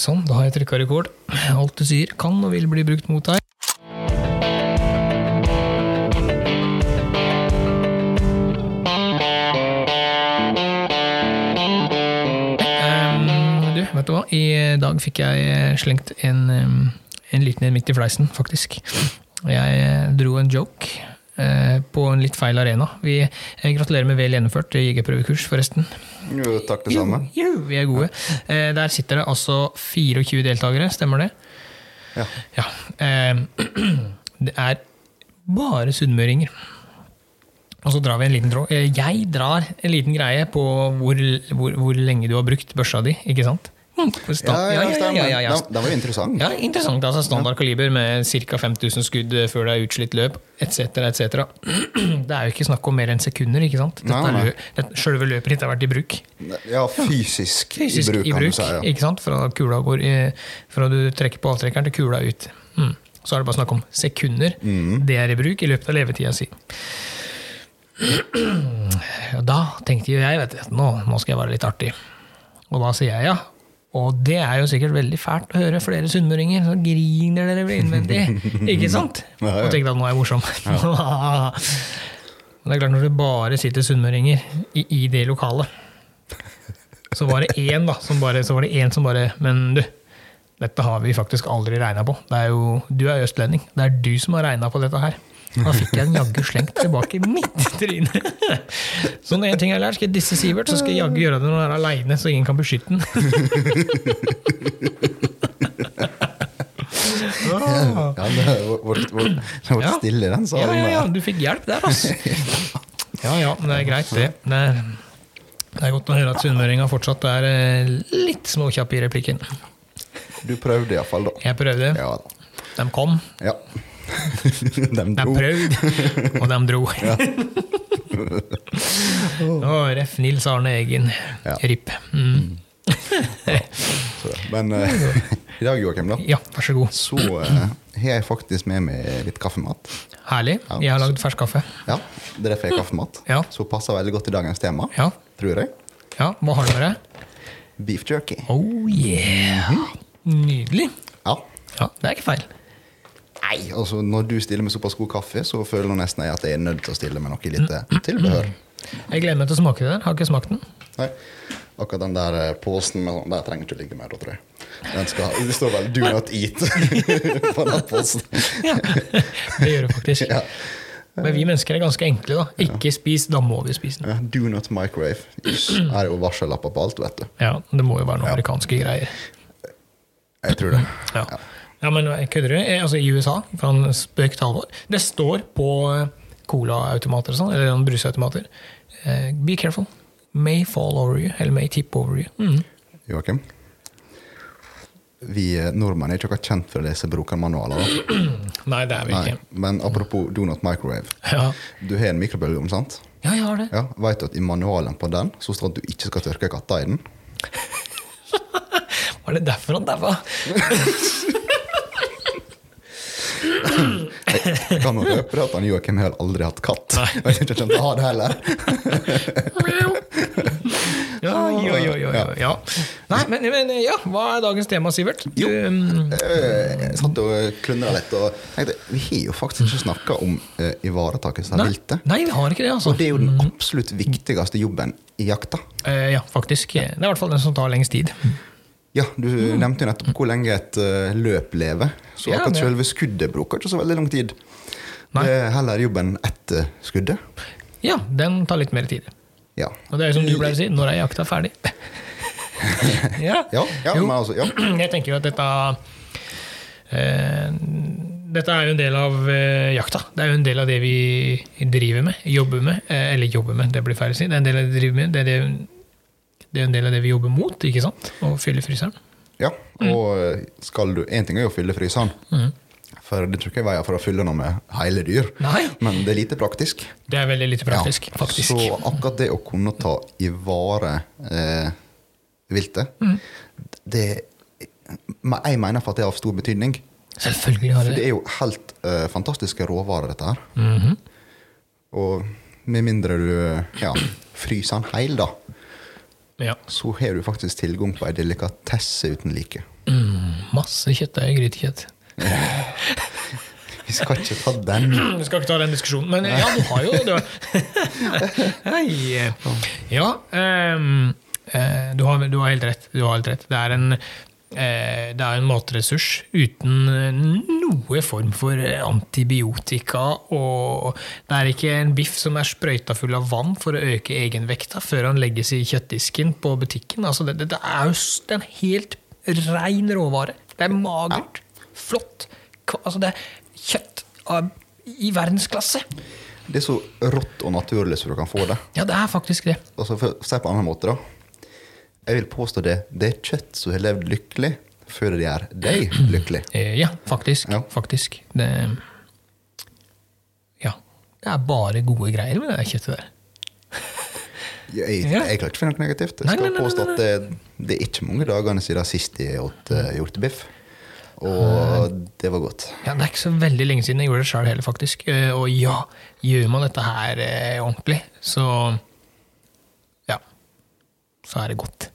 Sånn, da har jeg trykka rekord. Alt du sier, kan og vil bli brukt mot deg. Ehm, Du, vet du hva? I dag fikk jeg slengt en, ehm, en liten en midt i fleisen, faktisk. Jeg eh, dro en joke eh, på en litt feil arena. Vi eh, Gratulerer med vel gjennomført jegerprøvekurs, forresten. Jo, takk det samme. Jo, vi er gode. Eh, der sitter det altså 24 deltakere, stemmer det? Ja. Ja. Eh, det er bare sunnmøringer. Og så drar vi en liten tråd. Eh, Jeg drar en liten greie på hvor, hvor, hvor lenge du har brukt børsa di, ikke sant? Hm, sta- stemmer. ja, ja. Da, da var det interessant. Ja, interessant. altså Standard kaliber med ca. 5000 skudd eh, før det er utslitt løp, etc., etc. Det er jo ikke snakk om mer enn sekunder, ikke sant? Dette Nei, er nei. lø- dette- Selve løpet ditt har vært i bruk Ja, fysisk, fysisk i i bruk, kan du bruk. si. Ja. ikke sant? Fra, kula går i, fra du trekker på avtrekkeren til kula er ut. Mm. Så er det bare snakk om sekunder. Mm. Det er i bruk i løpet av levetida si. Og da tenkte jo jeg vet du, nå, nå skal jeg være litt artig. Og da sier jeg ja. Og det er jo sikkert veldig fælt å høre flere sunnmøringer. Så griner dere vel innvendig. Ikke sant? Ja, ja. Og tenkte at nå er jeg morsom. Men det er klart, når det bare sitter sunnmøringer i, i det lokalet, så var det én da, som bare, så var det en som bare Men du, dette har vi faktisk aldri regna på. Det er jo, du er østlending. Det er du som har regna på dette her. Da fikk jeg en jaggu slengt tilbake i mitt tryne. Så når en ting jeg har lært, skal jeg disse Sivert, så skal jeg jaggu gjøre det når han er aleine, så ingen kan beskytte den. Ah. Ja, det har vært- vært det har vært Ja. stille i den Ja, salen. ja, ja, der. du fikk hjelp der, altså. Ja ja, men det er greit, det. Det er, det er godt å høre at sunnmøringa fortsatt er eh, litt småkjapp i replikken. Du prøvde iallfall, da. Jeg prøvde, Ja da. de kom, Ja. De de dro. prøvde, og de dro. Å, Ref. Nils Arne Eggen, Ja. RIP. Mm. Så det. Men eh, i dag, Joakim, da, Ja, vær så god. så eh, har jeg faktisk med meg litt kaffemat. Herlig. Ja. Jeg har lagd fersk kaffe. Ja, Det er derfor jeg har kaffemat. Ja. Så passer veldig godt til dagens tema, Ja. tror jeg. ja. Hva har du med deg? Beef jerky. Oh yeah! Mhm. Nydelig. Ja. Ja, det er ikke feil. Nei, altså Når du stiller med såpass god kaffe, så føler jeg nesten jeg at jeg er nødt til å stille med noe lite tilbehør. Jeg gleder meg til å smake det der. Har ikke smakt den. Nei. Akkurat den der eh, posen med sånn, der trenger ikke ligge mer, da, tror jeg. Den skal, det står vel 'do not eat' på den posen. Ja. Det gjør det faktisk. Ja. Men vi mennesker er ganske enkle, da. Ikke spis, da må vi spise den. Ja, 'Do not microwave'. Jøss, Her er jo varsellapper på alt, vet du. Ja, Det må jo være noen amerikanske greier. Jeg tror det. Ja, ja men kødder du? Eh, Altså, I USA, fra en spøk til alvor, det står på eh, colaautomater og sånn, eller noen brusautomater eh, Be careful. May fall over you, eller may tip over you. Mm. Joakim? Vi eh, nordmenn er ikke akkurat kjent for å lese brukermanualer. da. Nei, det er vi Nei, ikke. Men apropos 'do not microwave'. Ja. Du har en mikrobølgeovn, sant? ja, jeg har det. Ja, Veit du at i manualen på den så står det at du ikke skal tørke katta i den? Var det derfor han daua? Jeg kan jo røpe at han Joakim har aldri hatt katt. Og jeg har ikke kjent å ha det heller. Ja, jo, jo, jo, jo, ja. Nei, men, men ja, hva er dagens tema, Sivert? Du, mm, Eh, Jeg satt og klundra litt og tenkte vi har jo faktisk ikke snakka om eh, ivaretakelse av nei, viltet. nei, vi har ikke det, altså. Og det er jo den absolutt viktigste jobben i jakta. Eh, ja, faktisk. Det er i hvert fall den som tar lengst tid. Mm. Ja, Du nevnte jo nettopp hvor lenge et eh, løp lever. Så Ja, akkurat det- selve skuddet bruker ikke så veldig lang tid. Nei. Det er heller jobben etter skuddet. Ja, den tar litt mer tid. Ja. Og det er jo som du pleier å si, når er jakta ferdig? ja, Ja, ja, Jo. men altså, ja. Jeg tenker jo at dette eh, Dette er jo en del av eh, jakta. Det er jo en del av det vi driver med, jobber med. Eh, eller jobber med, det blir feil å si. Det er en del av det vi driver med, det er, det, det er en del av det vi jobber mot, ikke sant? Å fylle fryseren. Ja, Mm. og eh, skal du En ting er jo å fylle fryseren. For det tror ikke jeg veier for å fylle noe med hele dyr. Nei. Men det er lite praktisk. Det er veldig lite praktisk, Ja, faktisk. Så akkurat det å kunne ta i vare eh, viltet, Mm. det men Jeg mener for at det er av stor betydning. Selvfølgelig har det For Mhm. det det. er jo helt eh, fantastiske råvarer, dette her. eh, Og med mindre du ja, fryser den heil, da, Ja. så har du faktisk tilgang på ei delikatesse uten like. Mm, masse kjøttdeig, grytekjøtt. Vi skal ikke ta den. Mm, Vi skal ikke ta den diskusjonen, men eh, ja, du har jo du har. Hei. eh, Ja, ehm, eh, du, har, du har helt rett. Du har helt rett. Det er en, eh, det er en matressurs uten eh, noe form for eh, antibiotika. Og det er ikke en biff som er sprøyta full av vann for å øke egenvekta før han legges i kjøttdisken på butikken. Altså, det, det, det er jo s- det er en helt rein råvare. Det er magert, flott. kva- Altså, det er kjøtt av, i verdensklasse. Det er så rått og naturlig som du kan få det. Ja, det er faktisk det. Altså, for å si det på en annen måte, da. Jeg vil påstå det. Det er kjøtt som har levd lykkelig før det gjør deg lykkelig. Eh, Ja, faktisk. Ja. Faktisk. Det Ja. Det er bare gode greier med det der kjøttet der. Jeg, Ja. jeg klarer ikke å finne noe negativt. Jeg Nei, skal nei, nei, påstå nei, at det, det er ikke mange dagene siden sist jeg åt eh, hjortebiff. Ah. Og det var godt. Ja, Det er ikke så veldig lenge siden jeg gjorde det sjøl heller, faktisk. Eh, Og ja, gjør man dette her eh, ordentlig, så Ja. Så er det godt.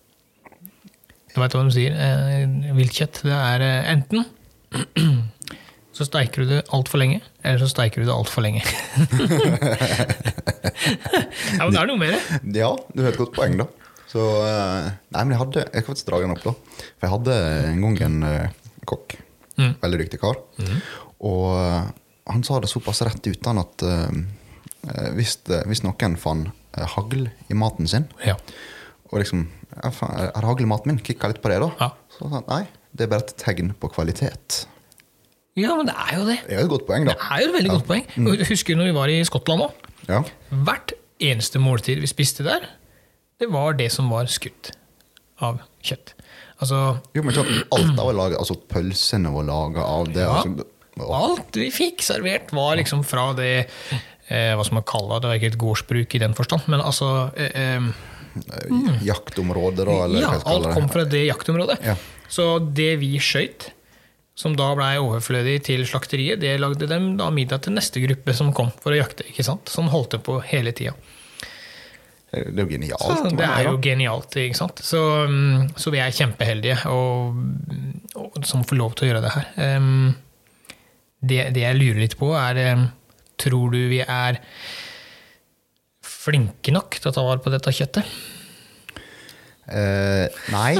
Du veit hva de sier? eh, Viltkjøtt, det er eh, enten så steiker du det altfor lenge, eller så steiker du det altfor lenge. ja, men det er noe med det. Ja, du har et godt poeng, da. Så, eh, nei, men jeg hadde, jeg kan faktisk dra den opp, da. For jeg hadde en gang en eh, kokk. Mm. Veldig dyktig kar. Og eh, han sa det såpass rett ut han at eh, eh, hvis, eh, hvis noen fant eh, hagl i maten sin, Ja. og liksom ja, faen, Er hagl i maten min? Kikka litt på det, da. Ja. Så sa han nei, det er bare et tegn på kvalitet. Ja, men det er jo det. Det er jo et godt poeng, Det da. er jo et veldig godt poeng. Mm. Og Husker du når vi var i Skottland òg? Ja. Hvert eneste måltid vi spiste der, det var det som var skutt av kjøtt. Altså Jo, men sånn, alt av laget, altså pølsene var laga av det. Ja. Altså, Alt vi fikk servert, var liksom fra det eh, Hva som man kaller det, det var ikke et gårdsbruk i den forstand, men altså eh, eh, eh, jaktområder og eller Ja, hva jeg skal kalle alt det. kom fra det jaktområdet. Ja. Så det vi skøyt, som da blei overflødig til slakteriet, det lagde dem da middag til neste gruppe som kom for å jakte. ikke sant? Sånn holdt det på hele tida. Eh, Det er jo genialt. Så men det er ja. jo genialt, ikke sant. Så, mm, så vi er kjempeheldige og, og, som får lov til å gjøre det her. Ehm, det, det jeg lurer litt på, er ehm, Tror du vi er flinke nok til å ta vare på dette kjøttet? Eh, nei,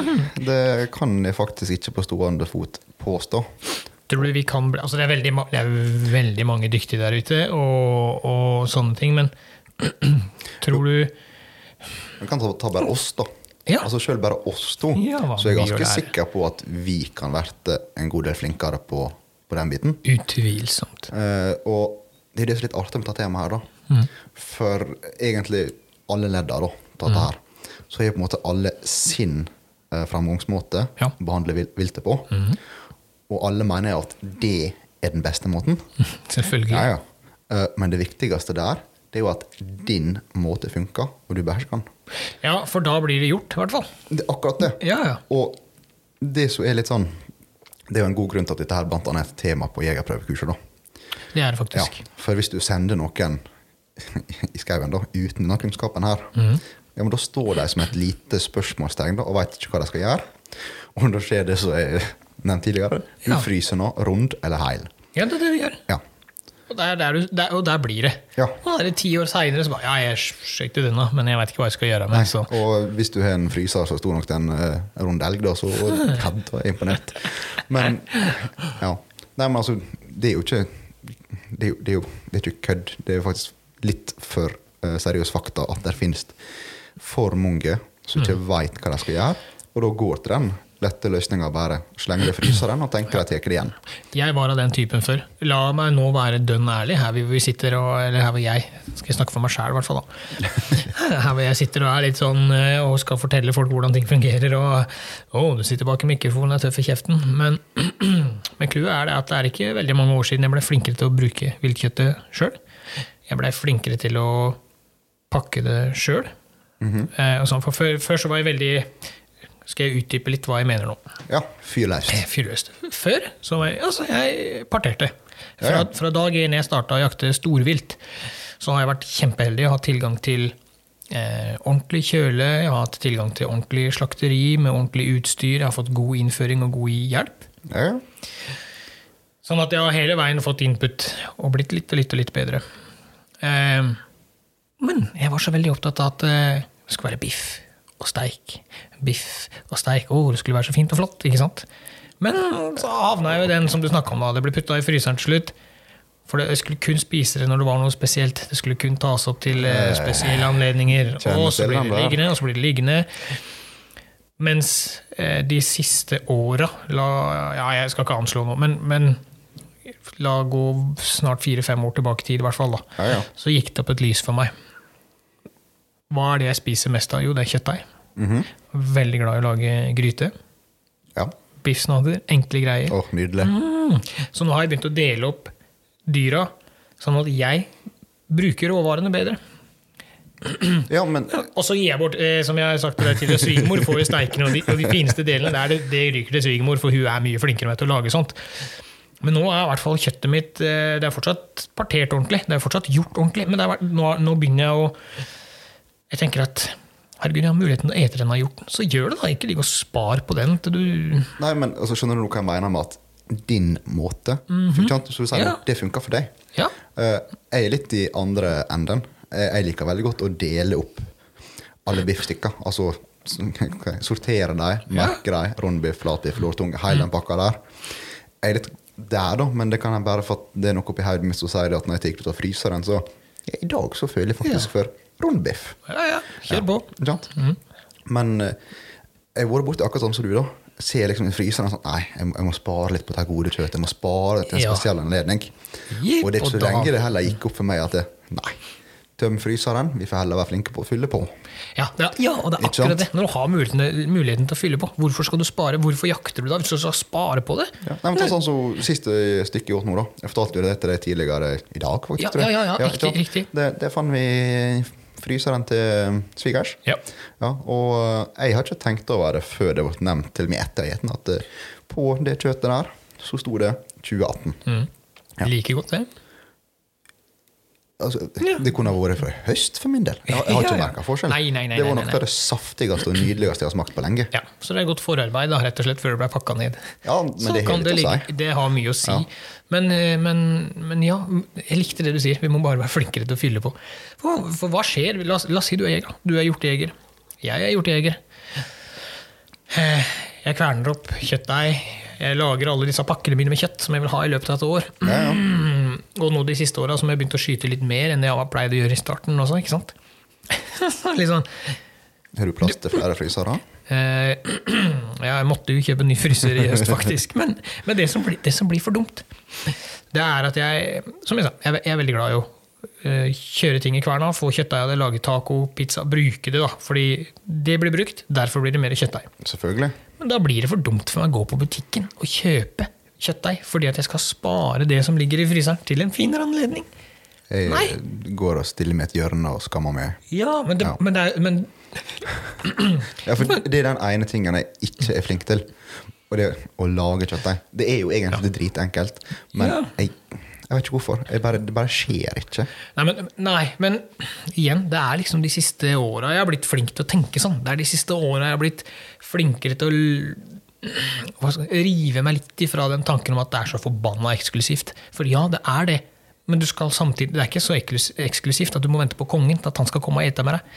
det kan jeg faktisk ikke på stående fot påstå. Tror du vi kan bli Altså, det er veldig, ma- det er veldig mange dyktige der ute og, og sånne ting, men tror du Vi kan ta, ta bare oss, da. Ja. Altså Selv bare oss to. Ja, hva så jeg er blir å ganske lære? sikker på at vi kan være en god del flinkere på, på den biten. Utvilsomt. Eh, og det er det som er litt artig med dette temaet her, da. Mm. For egentlig alle ledder, da, på Mm. dette her, så er jo på en måte alle sin eh, framgangsmåte Ja. Mm. behandle vil- viltet på. Og alle mener jo at det er den beste måten. Selvfølgelig. Ja, ja. Eh, Men det viktigste der, det er jo at din måte funker, og du behersker den. Ja, for da blir det gjort, i hvert fall. Det er akkurat det. Ja, ja. Og det som er litt sånn Det er jo en god grunn til at dette her blant annet er et tema på jegerprøvekurset. da. Det er det Ja, faktisk. for hvis du sender noen i skauen da, uten denne kunnskapen her, ja, men da står de som et lite spørsmålstegn da, og veit ikke hva de skal gjøre. Og da skjer det som jeg nevnte tidligere. Du Ja. fryser nå, rund eller heil. Ja, det er det vi gjør. Ja. Og der, der, du- der, og der blir det. Ja. Og da er det ti år seinere så bare Ja, jeg skøyt jo denne, men jeg veit ikke hva jeg skal gjøre med den. Så. Og hvis du har en fryser så stor nok til en eh, rund elg, da, så ja, da er jeg imponert. Men ja. Nei, men altså, det er jo ikke Det er jo, det er jo det er ikke kødd. Det er jo faktisk litt for eh, seriøs fakta at det finnes for mange som ikke veit hva de skal gjøre, og da går til den lette løsninga bare slenger det i fryseren og tenker de tar det igjen. Jeg var av den typen før. La meg nå være dønn ærlig, her hvor vi sitter og Eller her hvor jeg Skal jeg snakke for meg sjæl, i hvert fall, da. Her hvor jeg sitter og er litt sånn eh, og skal fortelle folk hvordan ting fungerer, og 'Å, du sitter bak i mikrofonen, er tøff i kjeften', men Men clouet er det at det er ikke veldig mange år siden jeg ble flinkere til å bruke viltkjøttet sjøl. Jeg blei flinkere til å pakke det sjøl. sånn, for før, før så var jeg veldig Skal jeg utdype litt hva jeg mener nå? Ja, fyr løs. Eh, Fyrløst. Før så var jeg, altså, jeg parterte. Ja, Fra, ja. fra dag én jeg starta å jakte storvilt, så har jeg vært kjempeheldig og hatt tilgang til eh, ordentlig kjøle, jeg har hatt tilgang til ordentlig slakteri med ordentlig utstyr, jeg har fått god innføring og god hjelp. Ja, ja. Sånn at jeg har hele veien fått input og blitt litt og litt og litt bedre. Eh, men jeg var så veldig opptatt av at eh, det skulle være biff og steik. Biff og steik. Å, det skulle være så fint og flott, ikke sant? Men så havna jeg jo i den som du snakka om, da. Det ble putta i fryseren til slutt. For det- jeg skulle kun spise det når det var noe spesielt. Det skulle kun tas opp til eh, spesielle anledninger. kjenner Og så til blir den det der. liggende, og så blir det liggende. Mens eh, de siste åra la, Ja, jeg skal ikke anslå noe, men, men la gå snart fire-fem år tilbake i tid, i hvert fall, da. Ja, ja. Så gikk det opp et lys for meg. Hva er det jeg spiser mest av? Jo, det er kjøttdeig. Mhm. Veldig glad i å lage gryte. ja. Biffsnadder. Enkle greier. Åh, nydelig. Mm. Så nå har jeg begynt å dele opp dyra, sånn at jeg bruker råvarene bedre. Ja, men Og så gir jeg bort, eh, som jeg har sagt til deg tidligere, svigermor får jo steikene og de, og de fineste delene. Det, er det, det ryker til svigermor, for hun er mye flinkere med til å lage sånt. Men nå er i hvert fall kjøttet mitt eh, Det er fortsatt partert ordentlig. Det er fortsatt gjort ordentlig. Men det er, vært- nå, nå begynner jeg å Jeg tenker at herregud, jeg har muligheten til å ete den jeg har gjort. Så gjør det, da. Ikke ligg og spar på den til du Nei, men altså, skjønner du hva jeg mener med at din måte ikke sant? Så du sier, Mhm. Ja. Det funker for deg. Ja. Eh, jeg er litt i andre enden. Eh, jeg liker veldig godt å dele opp alle biffstykker. Altså s- ok, sortere dem, Ja. Mhm. merke dem. Rundbiff, flatbiff, lårtunge, hele den pakka der. Jeg er litt der, da, men det kan jeg bare for at det er noe oppi hodet mitt som sier det at når jeg tar det ut av fryseren, så ja, I dag så føler jeg faktisk for rundbiff. ja, ja. Kjør på. Ikke sant? Mhm. Men eh, jeg har vært borti akkurat sånn som du, da. Ser liksom i fryseren sånn Nei, jeg må, jeg må spare litt på dette gode kjøttet. Jeg må spare det til en Ja. spesiell anledning. Jepp, og det er og ikke så da- lenge det heller gikk opp for meg at det, Nei, tøm fryseren. Vi får heller være flinke på å fylle på. Ja, det er, ja, og det er Ikke sant? akkurat det. Når du har muligheten, muligheten til å fylle på, hvorfor skal du spare? Hvorfor jakter du da hvis du skal spare på det? Ja. Nei, men ta sånn som Siste stykket gjort nå, da. Jeg fortalte jo det til deg tidligere i dag. faktisk, Ja, tror jeg. ja, ja, ja, ikke sant? riktig, riktig. Det, det fant vi i fryseren til svigers. Ja. Ja, og eh, jeg har ikke tenkt over det før det ble nevnt til meg etter jeg etten, at eh, på det kjøttet der så sto det 2018. Ja. Like godt, det. Altså, Ja. Det kunne ha vært fra høst for min del. Jeg, har- jeg har Ja, ikke ja. merka forskjell. Nei, nei, nei, det var nei, nok nei. av det saftigste og nydeligste jeg har smakt på lenge. Ja, så det er godt forarbeid da, rett og slett, før det ble pakka ned. Ja, men så det Sånn har kan litt å ligge- si. det har mye å si. Men, eh, men, men ja, jeg likte det du sier. Vi må bare være flinkere til å fylle på. For, for hva skjer? La oss, la oss si du er jeger. Du er hjortejeger. Jeg er hjortejeger. Eh, Jeg kverner opp kjøttdeig. Jeg lager alle disse pakkene mine med kjøtt som jeg vil ha i løpet av et år. Ja, ja. Mm, Og nå de siste åra har jeg begynt å skyte litt mer enn jeg pleide å gjøre i starten. også, ikke sant? litt sånn Har du plass til flere frysere? Eh, ja, jeg måtte jo kjøpe ny fryser i høst, faktisk. Men, men det, som blir, det som blir for dumt, det er at jeg Som jeg sa, jeg, er- jeg er veldig glad i å eh, kjøre ting i kverna, få kjøttdeig av det, lage taco, pizza, bruke det, da. Fordi det blir brukt, derfor blir det mer kjøttdeig. Selvfølgelig. Men da blir det for dumt for meg å gå på butikken og kjøpe kjøttdeig, fordi at jeg skal spare det som ligger i fryseren, til en finere anledning. Jeg eh, Nei. går og stiller meg i et hjørne og skammer meg. Ja, men det, Ja. Men det er men, Ja, for Det er den ene tingen jeg ikke er flink til. Og det er å lage kjøttdeig. Det er jo egentlig dritenkelt, men Ja. jeg, jeg vet ikke hvorfor. Jeg bare, det bare skjer ikke. Nei men, nei, men igjen, det er liksom de siste åra jeg har blitt flink til å tenke sånn. Det er de siste åra jeg har blitt flinkere til å l- hva skal, rive meg litt ifra den tanken om at det er så forbanna eksklusivt. For ja, det er det, men du skal samtidig, det er ikke så eklus- eksklusivt at du må vente på kongen til at han skal komme og ete med deg.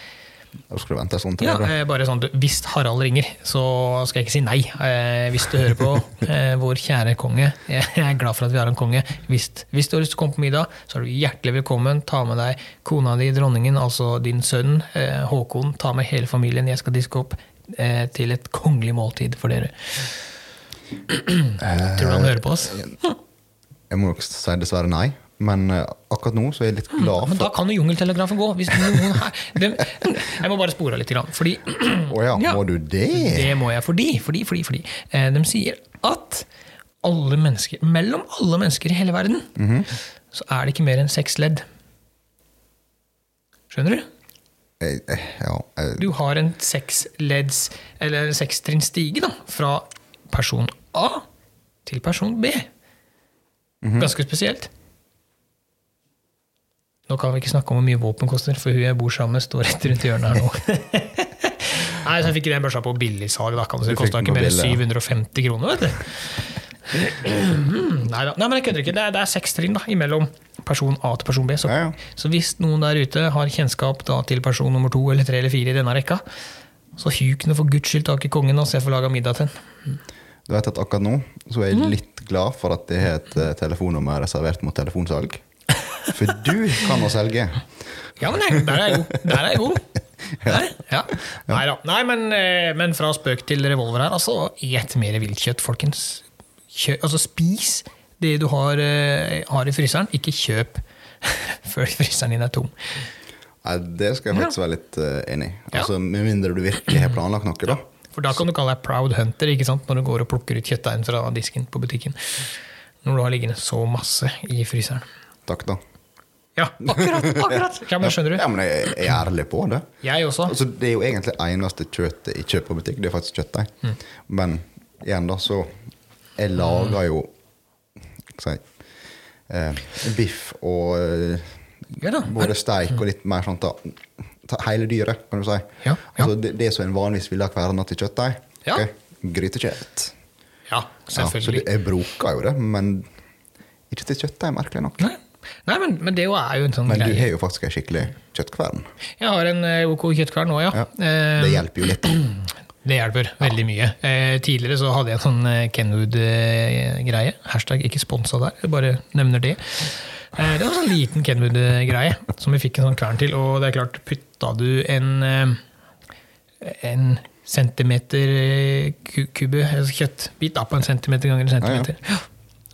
Da skal du vente sånn til Ja, det. eh, bare sånn, du, Hvis Harald ringer, så skal jeg ikke si nei. Eh, hvis du hører på, eh, vår kjære konge. Jeg er glad for at vi har en konge. Hvis, hvis du har lyst til å komme på middag, så er du hjertelig velkommen. Ta med deg kona di, dronningen, altså din sønn eh, Håkon. Ta med hele familien. Jeg skal diske opp eh, til et kongelig måltid for dere. Tror du han hører på oss? Jeg må nok si dessverre nei, men eh, akkurat nå så er jeg litt glad Mm. Men da for kan jo jungeltelegrafen gå. Hvis noen her, det, jeg må bare spore av litt, grann, fordi Å ja, Ja. må du det? Det må jeg fordi, fordi, fordi, fordi. Eh, De sier at alle mennesker, mellom alle mennesker i hele verden, så er det ikke mer enn seks ledd. Skjønner du? Jeg, jeg, ja, jeg, Du har en seksledds, eller en sekstrinns stige, da, fra person A Mhm. til person B. Ganske spesielt. Nå kan vi ikke snakke om hvor mye våpen koster, for hun jeg bor sammen med, står rett rundt hjørnet her nå. Nei, så jeg fikk den børsa på billigsalg, da. kan du si. Det Du fikk kosta den ikke på mer enn billig, ja. 750 kroner, vet du. Nei da. Nei, men jeg kødder ikke. Det er, det er seks trinn da, imellom person A til person B. Så, Ja, ja. så hvis noen der ute har kjennskap da, til person nummer to eller tre eller fire i denne rekka, så huk nå for guds skyld tak i kongen, og se få laga middag til den. Du vet at akkurat nå så er Mhm. jeg litt glad for at det er et eh, telefonnummer reservert mot telefonsalg. For du kan å selge. Ja, men jeg, der er jeg god. Der er jeg god. Der, ja. Nei da. Nei, men, eh, men fra spøk til revolver her, altså. Et mer viltkjøtt, folkens. Kjø, altså, spis det du har, eh, har i fryseren, ikke kjøp før fryseren din er tom. Nei, det skal jeg faktisk være litt eh, enig i. Ja. Altså, Med mindre du virkelig har planlagt noe, da. For da kan du kalle deg proud hunter ikke sant? når du går og plukker ut kjøttdeigen fra disken på butikken. Når du har liggende så masse i fryseren. Takk, da. Ja, akkurat! akkurat. Ja, men skjønner du? Ja, men jeg jeg er ærlig på det. Jeg også. Altså, det er jo egentlig eneste kjøttet jeg kjøper på butikk, det er faktisk kjøttdeig. Mm. Men igjen, da, så Jeg lager jo hva skal jeg si, eh, biff og eh, Ja da. både steik og litt mer sånt. da ta Hele dyret, kan du si. Ja, ja. Altså, det, det som en vanligvis ville ha hver natt til kjøttdeig. Ja. ok? Grytekjøtt. Ja, så selvfølgelig. det, jeg bruker jo det, men ikke til kjøttdeig, merkelig nok. Nei, Nei men, men det jo er jo en sånn Men du greie. har jo faktisk ei skikkelig kjøttkvern. Jeg har en eh, OK kjøttkvern nå, ja. Ja. Eh, Det hjelper jo litt. Det hjelper veldig mye. Eh, tidligere så hadde jeg en sånn eh, Kenwood-greie. Hashtag ikke sponsa der, jeg bare nevner det. Eh, det var en sånn liten Kenwood-greie som vi fikk en sånn kvern til. Og det er klart, putta du en, eh, en centimeter eh, ku- kubbe, altså kjøttbit, da, på en centimeter ganger en centimeter,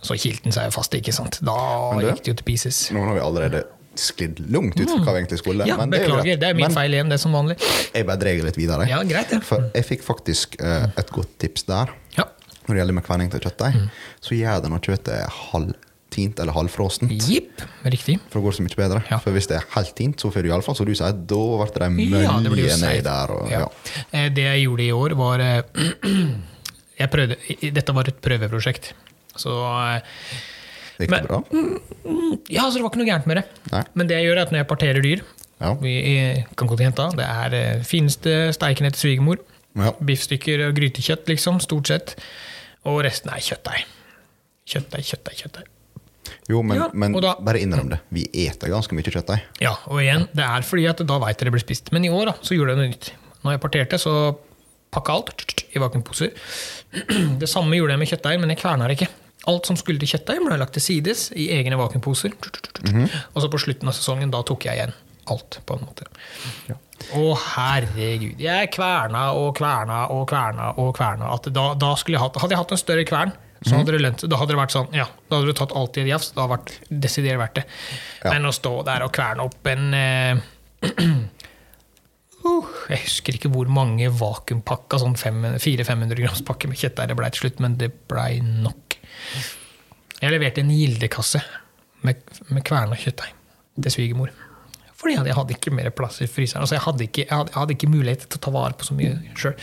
så kilte den seg jo fast, ikke sant. Da Men det- gikk det jo til pieces. Nå har vi allerede sklidd langt ut fra hva vi egentlig skulle. Mm. Ja, men det er jo beklager, greit. det er min men feil igjen, det er som vanlig. jeg bare dreier litt videre. Ja, greit, ja. For jeg fikk faktisk eh, et godt tips der. Ja. Når det gjelder med kverning til kjøttdeig, Mm. så gjør det når kjøttet er halvtint eller halvfrossent. Jipp, riktig. For det går så mye bedre. Ja. For hvis det er helt tint, så får du iallfall som du sier, da ble det Ja, mølje det blir jo nedi seigt. der. Og, ja. Ja. Eh, Det jeg gjorde i år, var eh, jeg prøvde, i- Dette var et prøveprosjekt. Så eh, Det gikk Men- bra. Ja, så det var ikke noe gærent med det. Nei. Men det jeg gjør, er at når jeg parterer dyr Ja. vi eh, kan gå til jenta, Det er eh, fineste steiken etter svigermor. Ja. Biffstykker og grytekjøtt, liksom. Stort sett. Og resten er kjøttdeig. Kjøttdeig, kjøttdeig, kjøttdeig. Jo, men, Ja, men og da- bare innrøm det. Vi eter ganske mye kjøttdeig. Ja, og igjen, det er fordi at da veit dere blir spist. Men i år da, så gjorde jeg noe nytt. Når jeg parterte, så pakka alt tsk, tsk, i vakuumposer. Det samme gjorde jeg med kjøttdeig, men jeg kverna det ikke. Alt som skulle til kjøttdeig, ble lagt til sides i egne vakuumposer. Tsk, tsk, tsk, tsk. Og så på slutten av sesongen, da tok jeg igjen alt, på en måte. Å, herregud. Jeg kverna og kverna og kverna og kverna. At da, da skulle jeg hatt, hadde jeg hatt en større kvern, så hadde det lønt seg. Da hadde det vært sånn, ja, da hadde du tatt alt i et jafs. Da hadde det vært desidert verdt det. Ja. Men å stå der og kverne opp en eh, Uh, jeg husker ikke hvor mange vakuumpakka, sånn 500 400-500 grams pakke med kjøttdeig det blei til slutt, men det blei nok. Jeg leverte en gildekasse med, med kverna kjøttdeig til svigermor. Fordi jeg hadde ikke mer plass i fryseren. Altså, jeg, hadde ikke, jeg, hadde, jeg hadde ikke mulighet til å ta vare på så mye sjøl.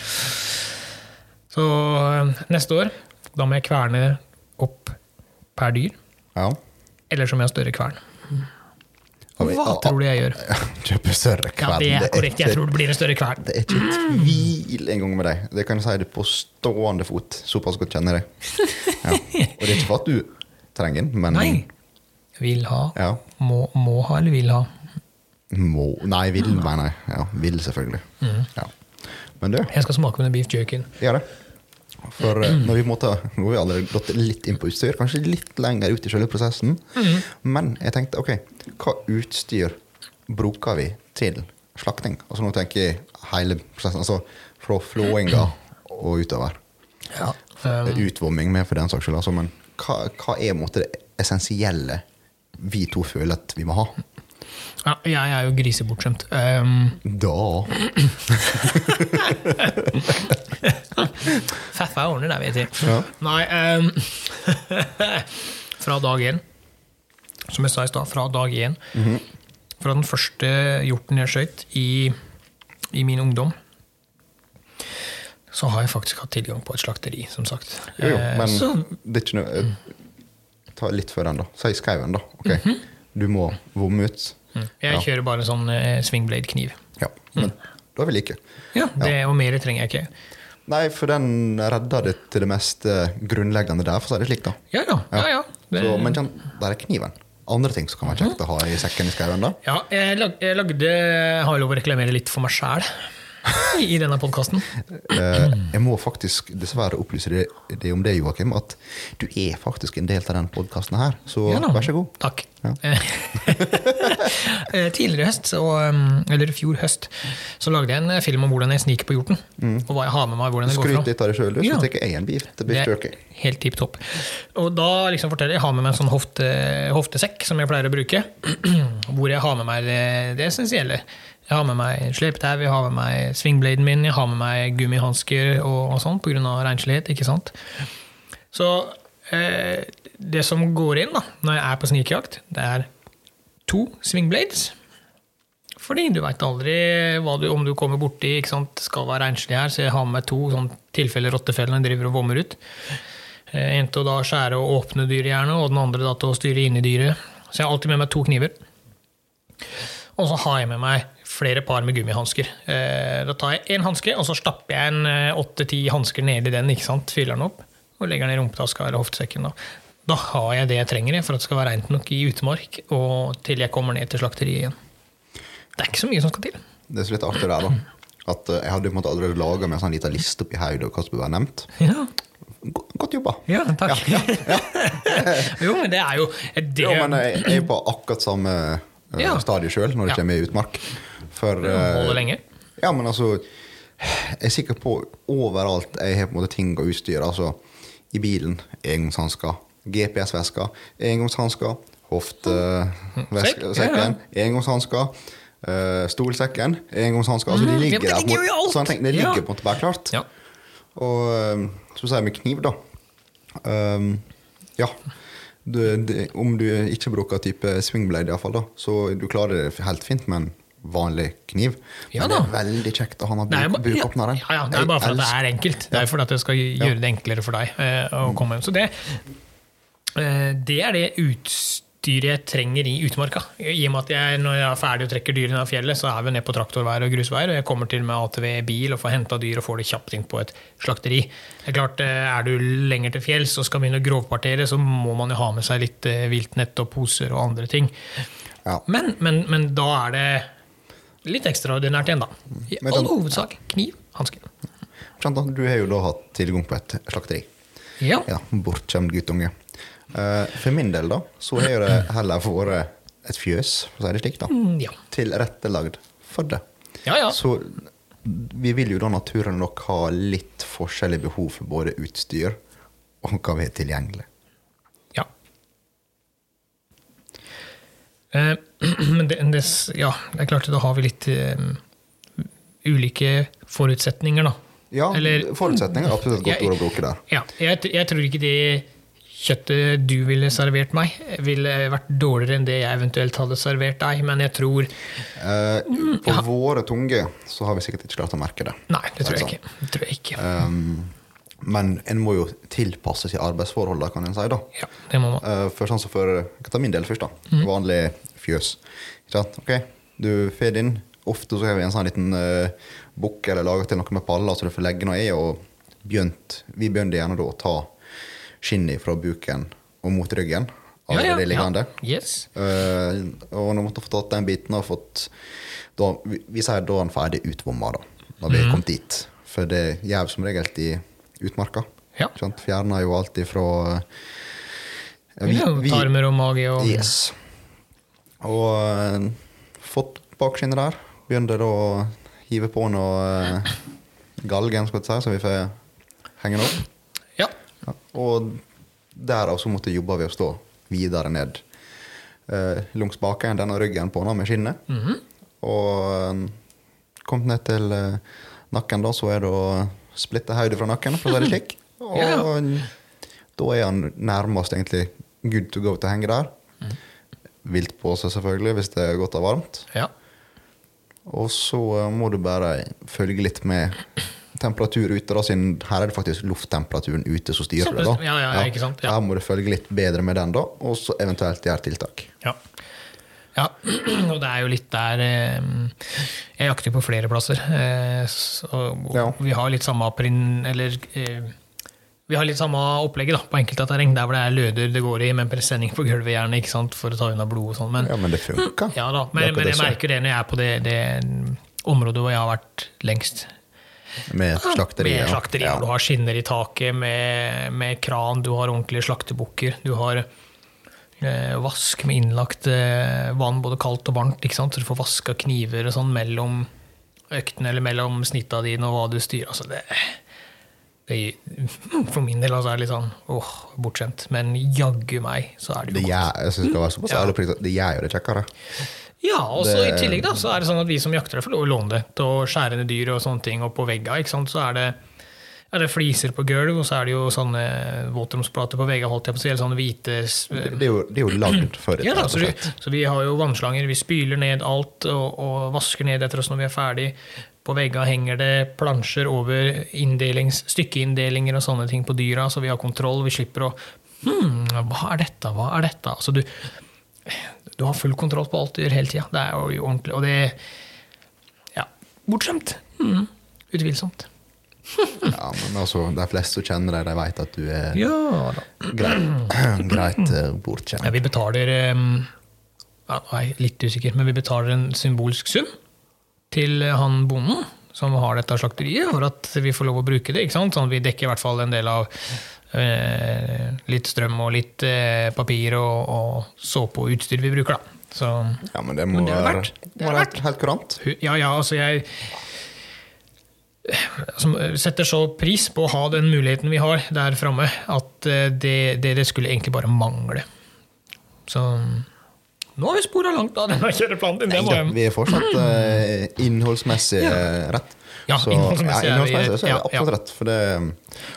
Så øh, neste år, da må jeg kverne opp per dyr. Ja. Eller så må jeg ha større kvern. Og vi- Hva tror du jeg gjør? Kjøper større Ja, kvern. det er korrekt. Jeg ikke- tror det blir en større kvern. Det er ikke tvil engang med deg. Det kan jeg si det på stående fot. Såpass godt kjenner jeg deg. Ja. Og det er ikke for at du trenger den, men Nei. Vil ha. Ja. Må, må ha eller vil ha. må Nei, vil, mener jeg. Ja, vil, selvfølgelig. Ja. Men du, Jeg skal smake på den beef jerkyen. gjør det. For eh, når vi på en måte, nå har vi allerede gått litt inn på utstyr, kanskje litt lenger ut i selve prosessen. Men jeg tenkte ok, hva utstyr bruker vi til slakting? Altså Nå tenker jeg hele prosessen, altså fra flåinga og utover. Ja. Eh, Utvomming med, for den saks skyld. Altså, men hva, hva er på en måte det essensielle vi to føler at vi må ha? ja, jeg er jo grisebortskjemt. Um, Da Faffa ordner det, vet du. Ja. Nei ehm, Fra dag én, som jeg sa i stad, fra dag én Mhm. Fra den første hjorten jeg skøyt i, i min ungdom, så har jeg faktisk hatt tilgang på et slakteri, som sagt. Jo, jo, Eh, men så, det er ikke noe eh, Ta litt før den, da. Si skauen, da. ok? Du må vomme ut. Mhm. Mm. Jeg Ja. kjører bare sånn eh, swingblade-kniv. Ja, men da vil jeg ikke. Ja, det, og mer trenger jeg ikke. Nei, for den redder det til det mest eh, grunnleggende der, for å si det slik, da. Ja, ja. ja, ja. Det, Så, men kjenn, der er kniven. Andre ting som kan være kjekt å ha i sekken i skauen, da. ja jeg, lag, jeg lagde Har jeg lov å reklamere litt for meg sjæl i denne podkasten? Eh, jeg må faktisk dessverre opplyse det, det om det, Joakim, at du er faktisk en del av den podkasten her, så Ja da. vær så god. Takk. Ja. Eh, Tidligere i høst, så, um, eller i fjor høst, så lagde jeg en eh, film om hvordan jeg sniker på hjorten. Mm. Og hva jeg har med meg, hvordan jeg går Skryt fram. litt av deg sjøl, Ja. så tar jeg en bit. Det blir Det jerky. er helt tipp topp. Og da liksom forteller jeg, jeg har med meg en sånn hofte, hoftesekk som jeg pleier å bruke. Hvor jeg har med meg det, det essensielle. Jeg har med meg slepetau, jeg har med meg svingbladen min, jeg har med meg gummihansker og, og sånn pga. renslighet. ikke sant? Så eh, det som går inn da, når jeg er på snikejakt, det er to swingblades. Fordi du veit aldri hva du, om du kommer borti. ikke sant? Skal være renslig her, så jeg har med to sånn tilfelle rottefellene driver og vommer ut. Eh, En til å da skjære og åpne dyret gjerne, og den andre da til å styre inn i dyret. Så jeg har alltid med meg to kniver. Og så har jeg med meg flere par med gummihansker. Eh, Da tar jeg én hanske, og så stapper jeg en eh, åtte-ti hansker ned i den, ikke sant? fyller den opp og legger den i rumpetaska eller hoftesekken. Da. da har jeg det jeg trenger jeg, for at det skal være rent nok i utmark og til jeg kommer ned til slakteriet igjen. Det er ikke så mye som skal til. Det er så litt artig der, da. At eh, jeg hadde på en måte allerede laga meg en sånn liten liste oppi hodet over hva som bør være nevnt. Ja, Go- Godt jobba. takk. jo, men det er jo det, Jo, men jeg jeg er på akkurat samme eh, Ja. stadie sjøl når det Ja. kommer i utmark. For eh, Holder lenge. Ja, men altså Jeg er sikker på overalt jeg har på en måte ting og utstyr. Altså i bilen engangshansker, GPS-vesker, engangshansker, eh, Sekk, ja, Mm. ja. hoftesekken, engangshansker, eh, stolsekken, engangshansker. Altså de Mm, ligger ja, men det der. på en ligger jo i måte- alt. Sånne ting, det Ja. ligger på en måte bare klart. Ja. Og eh, så sier jeg med kniv, da. Ehm, ja. Du, det, om du ikke bruker type swingblade, iallfall, da, så du klarer det helt fint med en vanlig kniv. Ja Men det da. er veldig kjekt å ha Det er, den jo ba- ja, bukåpneren. ja, ja, det er bare for at det er enkelt. Det er for at det skal gjøre det enklere for deg eh, å komme hjem. Så det, eh, det er det utstyret jeg trenger i utmarka. I og med at jeg, når jeg er ferdig og trekker dyrene av fjellet, så er vi ned på traktorveier og grusveier, og jeg kommer til med ATV i bil og får henta dyr og får det kjapt inn på et slakteri. Det er klart, eh, Er du lenger til fjells og skal begynne å grovpartere, så må man jo ha med seg litt eh, viltnett og poser og andre ting. Ja. Men, men, men da er det litt ekstraordinært igjen, da. I Men all den- hovedsak kniv, hanske. Skjønt da, Du har jo da hatt tilgang på et slakteri. Ja. Ja, Bortskjemt guttunge. Eh, for min del, da, så har jo det heller vært et fjøs, for å si det slik, da. Mm, ja. Tilrettelagd for det. Ja, ja. Så vi vil jo da naturen nok ha litt forskjellig behov for både utstyr og hva vi har tilgjengelig. ja. Eh, Men det, det, ja, det er klart, da har vi litt eh, ulike forutsetninger, da. Ja, Eller- forutsetninger er absolutt et godt Jeg- ord å bruke der. Ja, jeg, tr- jeg tror ikke det kjøttet du ville servert meg, ville vært dårligere enn det jeg eventuelt hadde servert deg, men jeg tror Eh, Mm, på våre tunge så har vi sikkert ikke klart å merke det. Nei, det tror jeg Sånn. ikke. Det tror jeg ikke. Um, men en må jo tilpasse seg arbeidsforholdene, kan en si. da. Ja, det må man. Eh, for sånn som for jeg kan ta min del først, da. Vanlig fjøs. Ikke sant? Ok, du får din. Ofte så har vi en sånn liten uh, bukk eller lager til noe med paller så du får legge noe i. Og begynt, vi begynte gjerne da å ta skinnet fra buken og mot ryggen. Av det liggende. Yes. Eh, og når vi måtte få tatt den biten og fått da, vi, vi sier da er den ferdig utvomma, da. Når vi er kommet dit. For det gjør vi som regel i utmarka. Ja. Ikke sant? Fjerner jo alt ifra eh, ja, ja, tarmer og mage og Yes. Og eh, fått bakskinnet der. Begynner da å hive på noe eh, galgen, skal jeg si, så vi får henge den opp. Ja. Ja. Og derav så måtte jobba vi oss da videre ned eh, langs baken, denne ryggen på henne med skinnet. Og eh, kom ned til eh, nakken, da, så er det å splitte hodet fra nakken, for å si det slik. Og Ja. da er han nærmest egentlig good to go til å henge der. Vilt på seg, selvfølgelig, hvis det er godt og varmt. ja. Og så eh, må du bare følge litt med temperatur ute, da, siden her er det faktisk lufttemperaturen ute som styrer det. da. Ja, ja, ikke sant, ja. Her må du følge litt bedre med den, da, og så eventuelt gjøre tiltak. Ja. Ja, og det er jo litt der eh, Jeg jakter på flere plasser. eh, Så og Ja. vi har litt samme prin- eller eh, vi har litt samme opplegget da, på enkelte av terreng, der hvor det er løder det går i, men presenning på gulvet gjerne, ikke sant, for å ta unna blod og sånn. Men, Ja, men det funka. ja da, Det er men, akkurat men det jeg som- merker det når jeg er på det, det området hvor jeg har vært lengst. Med slakteri. Med slakteri, ja. hvor du har skinner i taket, med, med kran, du har ordentlige slaktebukker, du har eh, vask med innlagt eh, vann, både kaldt og varmt, ikke sant? så du får vaska kniver og sånn mellom øktene eller mellom snitta dine og hva du styrer. Altså, det, det, for min del altså, er det litt sånn åh, bortskjemt. Men jaggu meg, så er det jo Det gjør, jeg synes det skal være såpass Ja. ærlig pris at det gjør jo det kjekkere. ja, og så i Det- tillegg da, så er det sånn at vi som jakter, får lov å låne det til å skjære ned dyr og sånne ting. Og på vegga ikke sant? så er det, er det fliser på gulv, og så er det jo sånne våtromsplater på vegga, holdt jeg på å si, eller sånne hvite s- Det, det, er jo, det er jo lagd for dette. ja, da, rett og så, vi, slett. så vi har jo vannslanger, vi spyler ned alt og, og vasker ned etter oss når vi er ferdig. På vegga henger det plansjer over inndelings, stykkeinndelinger og sånne ting på dyra, så vi har kontroll. Vi slipper å Hm, hva er dette, hva er dette? Altså, du, du har full kontroll på alt du gjør hele tida. Det er jo ordentlig. Og det Ja. Bortskjemt. Mm, utvilsomt. Ja, men altså, de fleste som kjenner deg, de vet at du er Ja da. greit, greit eh, Ja, bortskjemt. vi betaler ehm, ja, nå er jeg litt usikker, men vi betaler en symbolsk sum til eh, han bonden som har dette slakteriet, for at vi får lov å bruke det. ikke sant? Sånn at Vi dekker i hvert fall en del av eh, litt strøm og litt eh, papir og, og såpe og utstyr vi bruker, da. Så Ja, men det må Men det er være verdt- det er må være helt, helt kurant. hu- ja, ja, altså jeg som setter så pris på å ha den muligheten vi har der framme, at eh, det, det, det skulle egentlig bare mangle. Så nå har vi spora langt av denne kjøreplanen din. Det må Nei da, jeg Vi er fortsatt eh, innholdsmessig eh, rett. Ja, så, innholdsmessig ja, er vi- innholdsmessig så er ja, det absolutt rett. For det eh,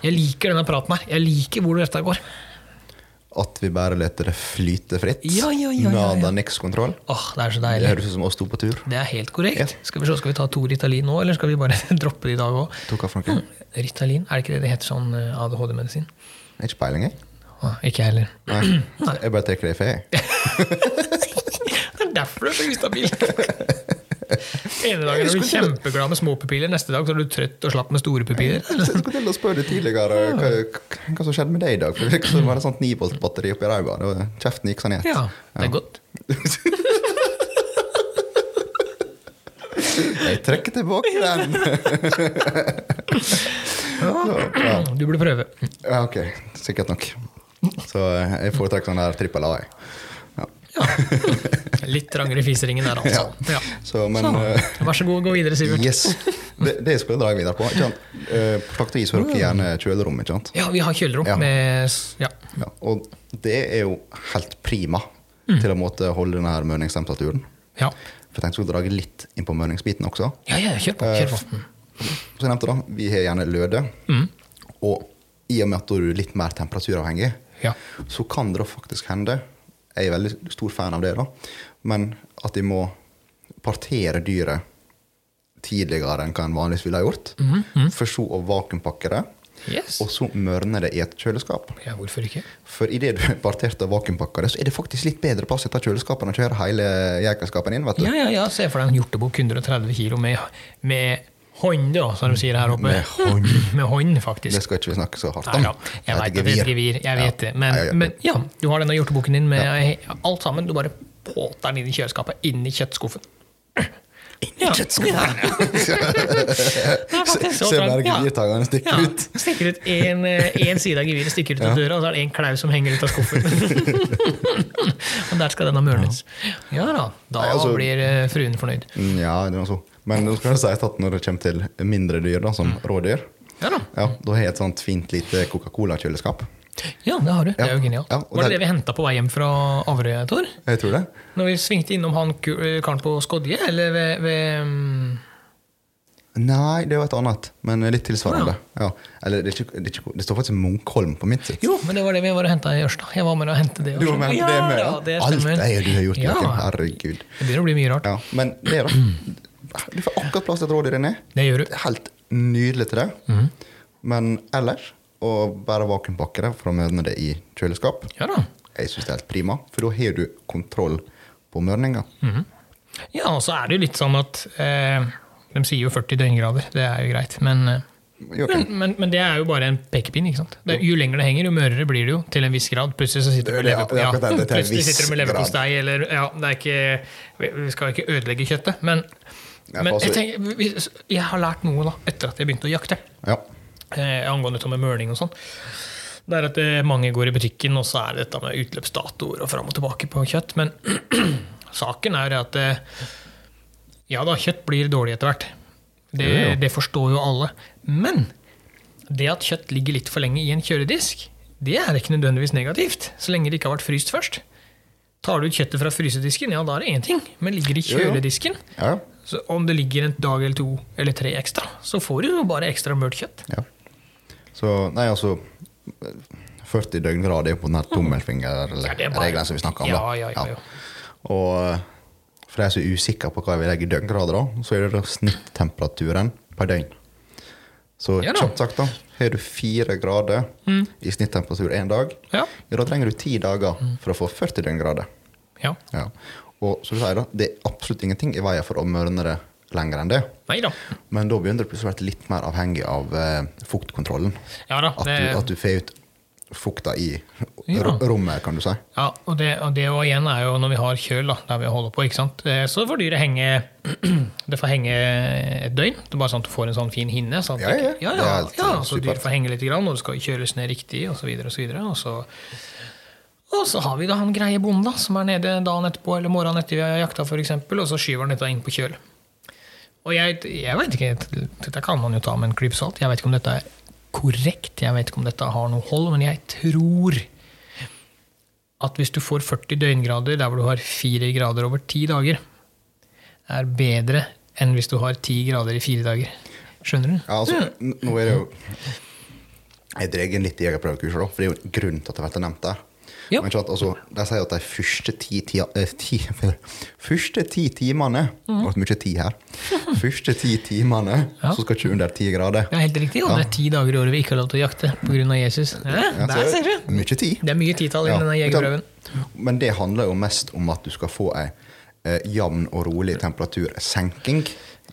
Jeg liker denne praten her. Jeg liker hvor dette går. at vi bare lar det flyte fritt, Ja, ja, ja, ja, ja. nada niks kontroll, Åh, Det er så det deilig. høres ut som oss to på tur. Det er helt korrekt. Ja. Skal vi se, skal vi ta to Ritalin nå, eller skal vi bare droppe det i dag òg? Tok av for noe? Ritalin, er det ikke det det heter sånn eh, ADHD-medisin? Ikke peiling, jeg. Åh, Ikke jeg heller. Nei. Jeg bare tar det i fe. Det er derfor du er så ustabil. Ene dagen er du kjempeglad med små pupiller, neste dag så er du trøtt og slapp med store pupiller. Jeg skulle til å spørre deg tidligere eh, hva, hva som skjedde med deg i dag. For det virket som det var et sånt 9 volt batteri oppi ræva. Det var- Kjeften gikk sånn i ett. Ja, det er godt. Jeg trekker tilbake den! Så, ja. Du burde prøve. ja, ok. Sikkert nok. Så eh, jeg foretrekker sånn der trippel A. jeg. Ja. Litt trangere i fiseringen der, altså. Ja. Så, men Sånn. eh, Vær så god, gå videre, Sivert. Yes. Det, det skulle jeg dra videre på. Ikke sant? Eh, På slakteriet så har dere gjerne kjølerom. ikke sant? Ja, vi har kjølerom Ja. med s- Ja. Ja, og det er jo helt prima til å måtte holde denne her mørningstemperaturen. Ja, For jeg tenkte jeg skulle dra litt inn på mørningsbiten også. ja, ja kjør på. Kjør på. Eh, Som jeg nevnte, da, vi har gjerne løde. Mm. Og i og med at du er litt mer temperaturavhengig, Ja. så kan det da faktisk hende Jeg er veldig stor fan av det, da, men at de må partere dyret tidligere enn hva en vanligvis ville ha gjort. Mhm, For så å vakuumpakke det, Yes. og så mørne det i et kjøleskap. Ja, hvorfor ikke? For idet du har partert og vakuumpakka det, så er det faktisk litt bedre plass etter kjøleskapet enn å kjøre hele jegerskapen inn. vet du. Ja, ja, ja, Se for deg en hjortebukk 130 kilo med, med hånd, da, som de sier her oppe. Med hånd. Med hånd, faktisk. Det skal ikke vi snakke så hardt Nei om. da, jeg vet Det heter at det er gevir. Jeg vet det. Men, Ja, ja, ja. men ja, du har denne hjortebukken din med alt sammen. Du bare påter den inn i kjøleskapet, inn i kjøttskuffen. Inn i kjøttskuffen? Ja. Det er faktisk så Se bare trangt. Ja. gevirtangene stikke Ja, ut. stikker ut en, eh, en side av geviret stikker ut av døra, og så er det en klau som henger ut av skuffen. og der skal den ha mørnes. Ja da, da Nei, altså- blir eh, fruen fornøyd. Mm, Ja, det var så. Men nå skal det sies at når det kommer til mindre dyr, da, Mm. som rådyr, Ja da, ja, da har jeg et sånt fint lite Coca-Cola-kjøleskap. ja, det har du. Det er jo genialt. Ja, og Var det det- det vi henta på vei hjem fra Averøy, Tor? Jeg tror det. Når vi svingte innom han ku- eh, karen på Skodje, eller ved, ved mm, Nei, det er jo et annet, men litt Å, tilsvarende. Ja. Eller det, er ikke, det, er ikke, det står faktisk Munkholm på mitt sitt. Jo, men det var det vi var og henta i Ørsta. Jeg var med og hentet det. Du har ment Ja, det med, ja, da? det Alt stemmer. det du har gjort, Joakim. Ja. Herregud. Det begynner å bli mye rart. Ja, men det, da. Du får akkurat plass til et rådyr inni. Det gjør Det du. er helt nydelig til det. Mm. Men ellers å bare vakuumpakke det for å møte det i kjøleskap, Ja da. jeg syns det er helt prima. For da har du kontroll på mørninga. Ja, og så er det jo litt sånn at eh, De sier jo 40 døgngrader, det er jo greit. Men, eh, Jo, men, men, men det er jo bare en pekepinn. ikke sant? Det, er- jo lenger det henger, jo mørere blir det jo. Til en viss grad. Plutselig så sitter du med Det er akkurat- leverpostei. Ja, det er akkurat det, til en plutselig viss sitter du med leverpostei, eller ja, det er ikke, Vi vi skal ikke ødelegge kjøttet. Men, Ja, men for altså- jeg, tenker, vi- jeg har lært noe da, etter at jeg begynte å jakte Ja. eh, angående dette med mørning og sånn. Det er at eh, mange går i butikken, og så er det dette med utløpsdatoer og fram og tilbake på kjøtt. Men saken er at eh, ja da, kjøtt blir dårlig etter hvert. Det, Jo, jo. det forstår jo alle. Men det at kjøtt ligger litt for lenge i en kjøledisk, det er ikke nødvendigvis negativt, så lenge det ikke har vært fryst først. Tar du ut kjøttet fra frysedisken, ja, da er det én ting. Men ligger det i Jo, jo. kjøledisken, Ja, så om det ligger en dag eller to eller tre ekstra, så får du jo bare ekstra mørt kjøtt. ja. Så nei, altså 40 døgngrad er jo på den her Ja, det er bare- tommelfingerregelen som vi snakker om. da. Ja, ja, ja, ja. Og eh, for de som er usikre på hva vi legger i døgngrader, da, så er det da snittemperaturen per døgn. Så Ja da. Mm. kjapt sagt, da. Har du fire grader i snittemperatur én dag, Ja. Mm. ja, da trenger du ti dager for å få 40 døgngrader. Ja. Ja. Og som du sier, da, det er absolutt ingenting i veien for å mørne det lenger enn det. Nei da. Men da begynner det plutselig å være litt mer avhengig av eh, fuktkontrollen. Ja da. At du, Det, at du får ut fukta i Ja. ro- rommet, kan du si. ja, og det, og det og igjen er jo når vi har kjøl, da, der vi holder på, ikke sant? Eh, så får dyret henge Det får henge et døgn. Det er bare sånn at du får en sånn fin hinne. Sånn at Ja, det ikke- ja. ja, ja, Det er ja, helt Så supert. dyret får henge litt, grann, og det skal kjøles ned riktig, osv. Og, så videre, og, så- og så har vi da han greie bonden da, som er nede dagen etterpå eller morgenen etter vi har jakta, for eksempel, og så skyver han dette inn på kjøl. Og jeg, jeg vet ikke, dette kan man jo ta med en klype salt. Jeg vet ikke om dette er korrekt, jeg vet ikke om dette har noe hold, men jeg tror at hvis du får 40 døgngrader der hvor du har 4 grader over 10 dager, er bedre enn hvis du har 10 grader i 4 dager. Skjønner du? Ja, altså, n- nå er det jo Jeg drar inn litt i jegerprøvekurset, da, for det er jo en grunn til at det har vært nevnt der. Ja. Men ikke sant, altså, De sier at de første ti, ti, eh, ti, første ti timene Det ble mye ti her. Første ti timene Mm. Ja. så skal ikke under ti grader. Det er helt riktig, og det er ti dager i året vi ikke har lov til å jakte pga. Jesus. Ja, Ja, der ser du! Mye tid. Det er mye titall i Ja, denne men jegerprøven. da- Men det handler jo mest om at du skal få ei eh, jevn og rolig temperatursenking.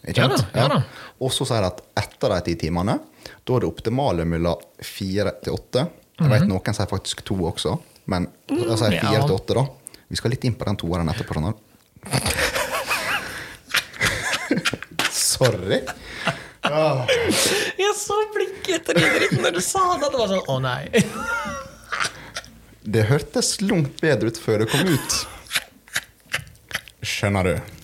Ikke Ja da, sant? ja da. Og så sier de at etter de ti timene, da er det optimale mellom fire til åtte. Jeg vet noen sier faktisk to også, men jeg sier Mhm. fire Mm, ja. til åtte, da. Vi skal litt inn på den toeren etterpå. Sånn. Sorry. Jeg så blikket etter den dritten når du sa det! Det var sånn å nei. Det hørtes langt bedre ut før det kom ut. Skjønner du.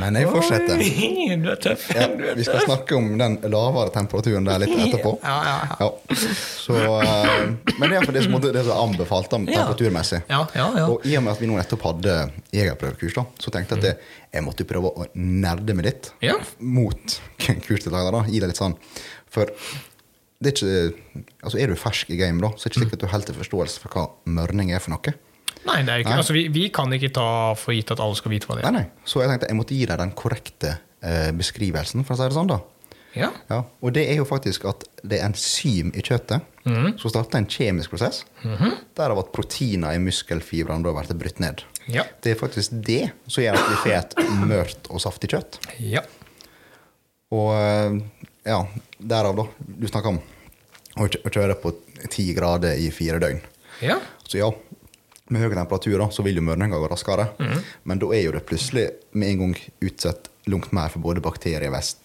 Men jeg fortsetter. Oi, Du er tøff. Ja, Du er vi skal snakke om den lavere temperaturen der litt etterpå. Ja, ja, ja. Så, eh, men det er for det som, det som er anbefalt da, temperaturmessig. Ja, ja, ja. Mm. Og i og med at vi nå nettopp hadde jegerprøvekurs, da, så tenkte jeg at det, jeg måtte prøve å nerde meg litt Ja. mot kursdeltakere. da, Gi deg litt sånn. For det er ikke Altså, er du fersk i game, da, så er det ikke Mm. sikkert du helt har forståelse for hva mørning er for noe. Nei, det er jo ikke, Nei. Altså, vi, vi kan ikke ta for gitt at alle skal vite hva det Nei, er. nei. Så jeg tenkte jeg måtte gi deg den korrekte eh, beskrivelsen, for å si det sånn, da. Ja. Ja, og det er jo faktisk at det er enzym i kjøttet Mm. som starter en kjemisk prosess, Mhm. derav at proteiner i muskelfibrene da blir brutt ned. Ja. Det er faktisk det som gjør at vi får et mørt og saftig kjøtt. ja. Og eh, ja, derav da, du snakker om å kjø- å kjøre på 10 grader i fire døgn. Ja. Så ja, med høy temperatur da, så vil jo mørninga gå raskere, men da er jo det plutselig med en gang utsatt langt mer for både bakterievest,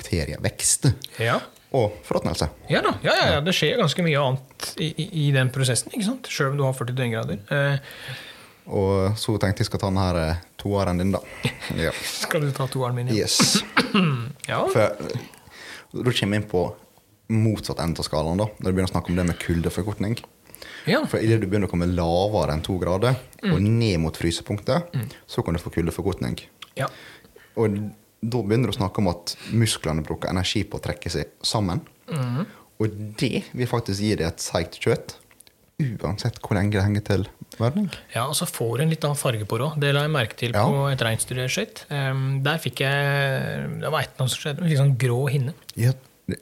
bakterievekst Ja. og forråtnelse. Ja, da. Ja, ja, ja, det skjer ganske mye annet i, i, i den prosessen, ikke sant? Sjøl om du har 40 døgngrader. Eh, Og så tenkte jeg skal ta den her eh, toeren din, da. Ja. skal du ta toeren min? Ja. Yes. ja. For eh, da kommer jeg inn på motsatt ende av skalaen, da, når du begynner å snakke om det med kuldeforkortning. ja. For idet du begynner å komme lavere enn to grader og ned mot frysepunktet, så kan du få kuldeforkortning. ja. Og da begynner du å snakke om at musklene bruker energi på å trekke seg sammen. Og det vil faktisk gi deg et seigt kjøtt, uansett hvor lenge det henger til verning. Ja, og så får en litt annen farge på det òg. Det la jeg merke til Ja. på et Eh, reinsdyr jeg skjøt. Ehm, der fikk jeg Det var et eller annet som skjedde. Litt sånn grå hinne. Ja,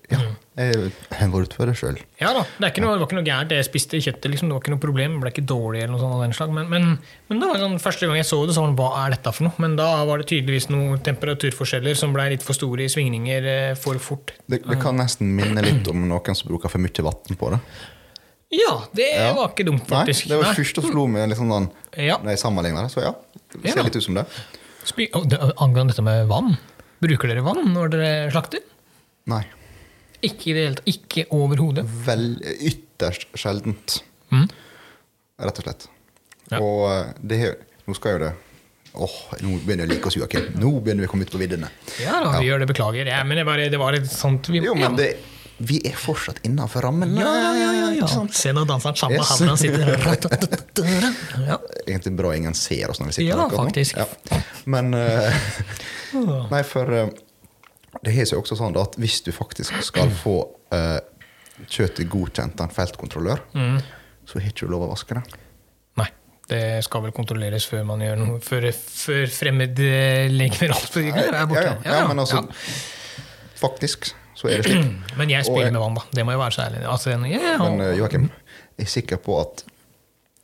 Ja, jeg har vært på det sjøl. Ja da, det, er ikke noe, det var ikke noe gærent. Jeg spiste kjøttet, liksom. det var ikke noe problem. Jeg ble ikke dårlig eller noe sånt av den slag. Men, men, men det var sånn, første gang jeg så det, så var det, hva er dette for noe? Men da var det tydeligvis noen temperaturforskjeller som ble litt for store i svingninger eh, for fort. Det, det kan nesten minne litt om noen som bruker for mye vann på det. Ja, det Ja. var ikke dumt, faktisk. Nei, det var Nei. det første som slo meg liksom den, Ja. når jeg sammenligner det. Så ja, det Ja. ser litt ut som det. Spy Å, det, angående dette med vann, bruker dere vann når dere slakter? Nei. Ikke i det hele tatt. Ikke overhodet. Vel, ytterst sjeldent, Mm. rett og slett. Ja. Og eh, det er- Nå skal jo det Åh, nå begynner jeg å like oss, Joakim. Nå begynner vi å komme ut på viddene. Ja da, vi gjør det, beklager. Ja, men det, bare, det var litt sånt vi, Jo, ja. men det, vi er fortsatt innafor rammen. ja, ja, ja, ja, Ikke ja. sant? Se nå danser han sammen, Yes. han han sitter ja. Egentlig bra ingen ser oss når vi sitter Ja, akkurat nå. faktisk. Ja. Men eh, Nei, for eh, det har seg også sånn da at hvis du faktisk skal få eh, kjøttet godkjent av en feltkontrollør, Mm. så har ikke du lov å vaske det. Nei. Det skal vel kontrolleres før man gjør noe Før, før fremmedlegemer er borte. ja, ja, ja, men altså Faktisk så er det slik. ja. Men jeg Og spiller jeg- med vann, da. Det må jo være så ærlig. Altså, en- ja, ja, Men eh, Joakim, jeg er sikker på at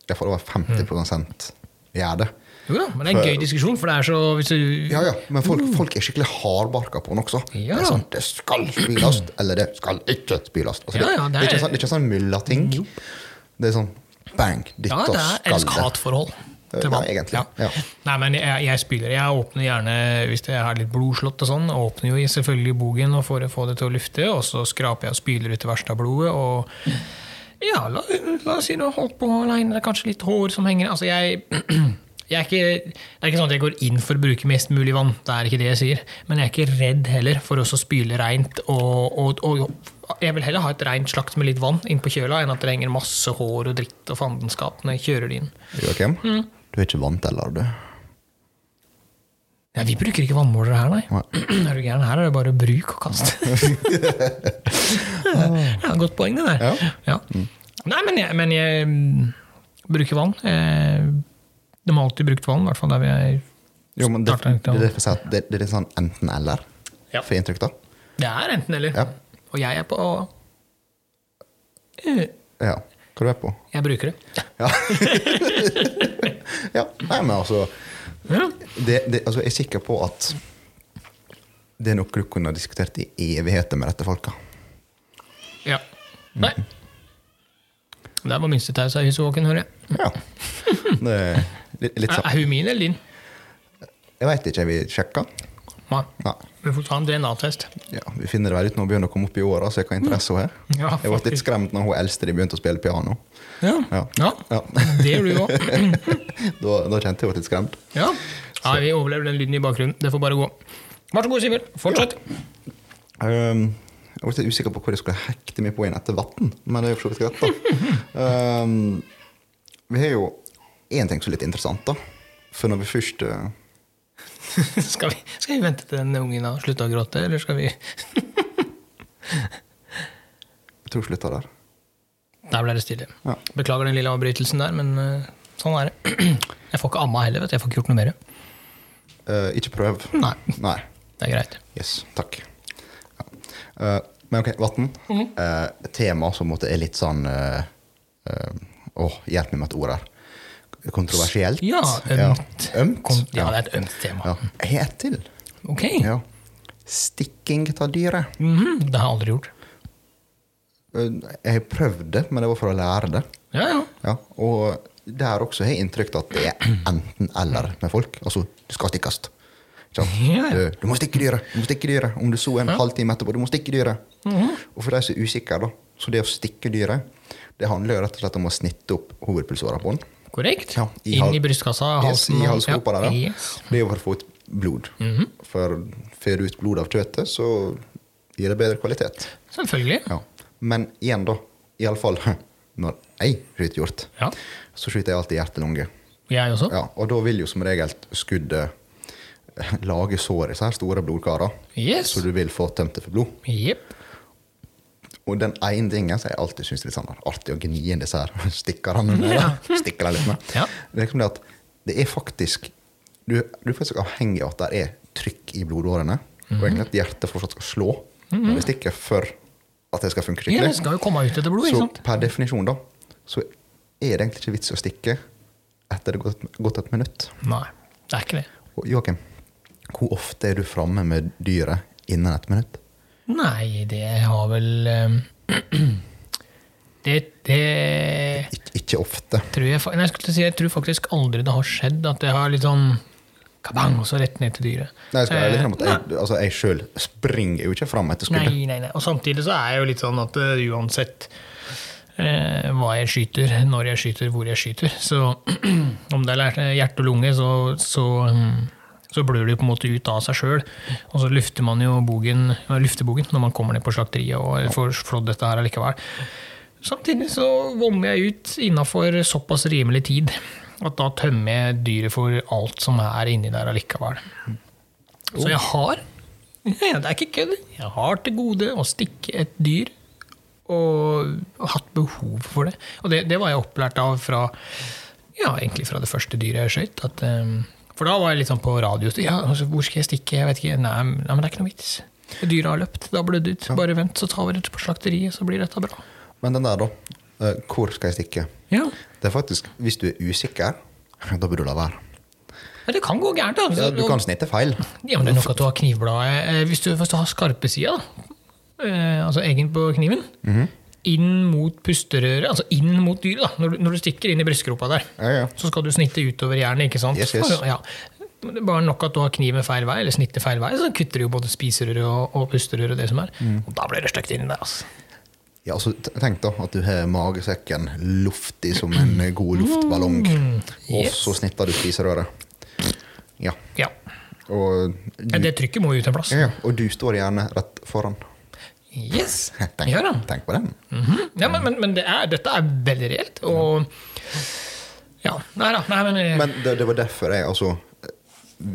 iallfall over 50 gjør det. jo da, men det er en for- gøy diskusjon, for det er så hvis du, Ja, ja, men folk, folk er skikkelig hardbarka på den også. Mm. Ja. Det er sånn, det skal spyles, eller det skal ikke spyles. Altså, det, Ja, ja, det, det er ikke er- sånn, det er ikke sånn mullating. Det er sånn bang, dette Ja, det er skal det. elsk-hat-forhold. til Ja, vann. egentlig, ja. Nei, men jeg, jeg spyler. Jeg åpner gjerne, hvis jeg har litt blodslått og sånn, åpner jo i selvfølgelig bogen og får, får det til å lufte, og så skraper jeg og spyler ut det verste av blodet, og ja, la, la oss si du har holdt på alene, det er kanskje litt hår som henger Altså, jeg, jeg er ikke, Det er ikke sånn at jeg går inn for å bruke mest mulig vann, det er ikke det jeg sier, men jeg er ikke redd heller for å så spyle reint. Og, og, og jeg vil heller ha et reint slakt med litt vann innpå kjøla enn at det henger masse hår og dritt og fandenskap når jeg kjører det inn. Joakim, Mm. du er ikke vant heller, du. Nei, vi bruker ikke vannmålere her, nei. Nei. Er du gæren? Her er det bare bruk og kast. ja, godt poeng, det der. Ja. Mm. Nei, men jeg, men jeg mm, bruker vann. Eh, De har alltid brukt vann, i hvert fall der vi er Jo, men det, det, Starter ikke er å- derfor jeg sier at det, det er litt sånn enten-eller. Ja. For inntrykk, da. Det er enten eller. Ja. Og jeg er på Eh, Ja. Hva er du er på? Jeg bruker det. Ja. ja. Nei, men altså, Ja. det, det, altså Jeg er sikker på at det er noe du kunne ha diskutert i evigheter med dette folka. ja. Mm-hmm. Nei. Der var minstetausa i huset, hører jeg. Ja. Det er litt, litt Er, sånn. er hun min eller din? Jeg veit ikke, vi sjekka. Nei. Nei. Vi får ta en DNA-test. Ja, vi finner det vel ut når hun begynner å komme opp i åra, så jeg kan interesse henne her. Ja, jeg ble litt faktisk. skremt når hun eldste de begynte å spille piano. Ja. Ja. ja. Ja. Det gjør du òg. Da, da kjente jeg meg litt skremt. Ja. ja, vi overlever den lyden i bakgrunnen. Det får bare gå. Vær så god, Sivert. Fortsett. Ehm, jeg ble litt usikker på hvor jeg skulle hekte meg på inn etter vann, men det er jo for så vidt greit, da. Ehm, vi har jo én ting som er litt interessant, da. For når vi først eh, Skal, vi, skal vi vente til den ungen har slutta å gråte, eller skal vi Jeg tror jeg slutta der. Der ble det stille. Ja. Beklager den lille avbrytelsen der, men eh, sånn er det. Jeg får ikke amma heller, vet du. Jeg får ikke gjort noe mer. Eh, ikke prøv. Nei, Nei. det er greit. Yes, takk. Ja. Eh, men ok, vann. Mhm. tema som måtte er litt sånn eh, eh, Åh, hjelp meg med et ord her. Kontroversielt. Ja, ømt. Ja, ømt. Kom, ja, Mm. ja. det er et ømt tema. ja. Jeg er til. Ok. Ja. Stikking av dyret. Mhm, det har jeg aldri gjort. Eh, Jeg har prøvd det, men det var for å lære det. Ja, ja. Ja, og der også har jeg inntrykk av at det er enten-eller med folk. Altså, du skal stikkes. Ikke sant? Ja, ja. Du, du må stikke dyret, du må stikke dyret. Om du så en halvtime etterpå, du må stikke dyret. Mhm. Og for de som er usikre, da, så det å stikke dyret, det handler jo rett og slett om å snitte opp hovedpulsåra på den. Korrekt. Ja, i hal- Inn i brystkassa, halsen yes, i og- halsgropa der, ja. ja. Yes. Mhm. Det er jo for å få ut blod. For får du ut blod av kjøttet, så gir det bedre kvalitet. Selvfølgelig. Ja. Men igjen, da. Iallfall når jeg skyter hjort, Ja. så skyter jeg alltid hjerte-lunge. Jeg også. Ja, og da vil jo som regel skuddet eh, lage sår i disse her store blodkarer. Yes. Så du vil få tømt det for blod. Jepp. Og den ene tingen som jeg alltid syns er litt sånn artig å gni inn disse her stikkerne med, da. stikker dem litt med, Ja. det er liksom det at det er faktisk Mhm. du, du er faktisk avhengig av at det er trykk i blodårene, og egentlig at hjertet fortsatt skal slå. Når jeg stikker for at det skal funke Ja, det skikkelig, skal jo komme ut etter blod, ikke så sant? per definisjon, da, så er det egentlig ikke vits å stikke etter det har gått, gått et minutt. Nei, det er ikke det. Og Joakim, hvor ofte er du framme med dyret innen et minutt? Nei, det har vel ehm, Det, det Ik ikke ofte. tror jeg, fa- nei, jeg, skulle si, jeg tror faktisk aldri det har skjedd at det har litt sånn kabang, og så rett ned til dyret. Nei, jeg skal være litt frem at Eh, jeg, altså, jeg sjøl springer jo ikke fram etter skuddet. Nei, nei, nei. Og samtidig så er jeg jo litt sånn at eh, uansett eh, hva jeg skyter, når jeg skyter, hvor jeg skyter, så om det er lært- eh, hjerte og lunge, så, så, mm, så blør det jo på en måte ut av seg sjøl. Og så lufter man jo bogen, ja, luftebogen når man kommer ned på slakteriet og får flådd dette her allikevel. Samtidig så vommer jeg ut innafor såpass rimelig tid at da tømmer jeg dyret for alt som er inni der allikevel. Så jeg har ja, Det er ikke kødd. Jeg har til gode å stikke et dyr, og hatt behov for det. Og det, det var jeg opplært av fra ja, egentlig fra det første dyret jeg skøyt. at, ehm, For da var jeg litt sånn på radio. Ja, altså, hvor skal jeg stikke? Jeg vet ikke. Nei, men- nei, men det er ikke noe vits. Dyret har løpt. Da ble det ut. Bare vent, så tar vi det på slakteriet, så blir dette bra. Men den der, da. eh, Hvor skal jeg stikke? Ja, Det er faktisk, Hvis du er usikker, da bør du la være. Men det kan gå gærent. altså. da. Ja, du kan snitte feil. Ja, men det er nok at du har knivbladet eh, Hvis du, hvis du har skarpe sida, da, eh, altså eggen på kniven, Mhm. inn mot pusterøret, altså inn mot dyret, da, når du, når du stikker inn i brystgropa der, Ja, ja. så skal du snitte utover jernet, ikke sant? Yes, yes. Ja. Men Det er bare nok at du har kniven feil vei, eller snittet feil vei, så kutter du jo både spiserøret og, og pusterøret og det som er. Mm. Og da blir det stygt inni der, altså. Ja, altså, t- Tenk da at du har magesekken luftig som en eh, god luftballong, og Mm. yes. så snitter du spiserøret. Ja. Ja. Og Ja, du, Det trykket må jo ut en plass. ja, ja, og du står gjerne rett foran. Yes. Tenk, Ja da. tenk på den. Mhm. Ja, men, men, men det er, dette er veldig reelt, og Ja. Nei da. Nei, men, eh, Men det, det var derfor jeg altså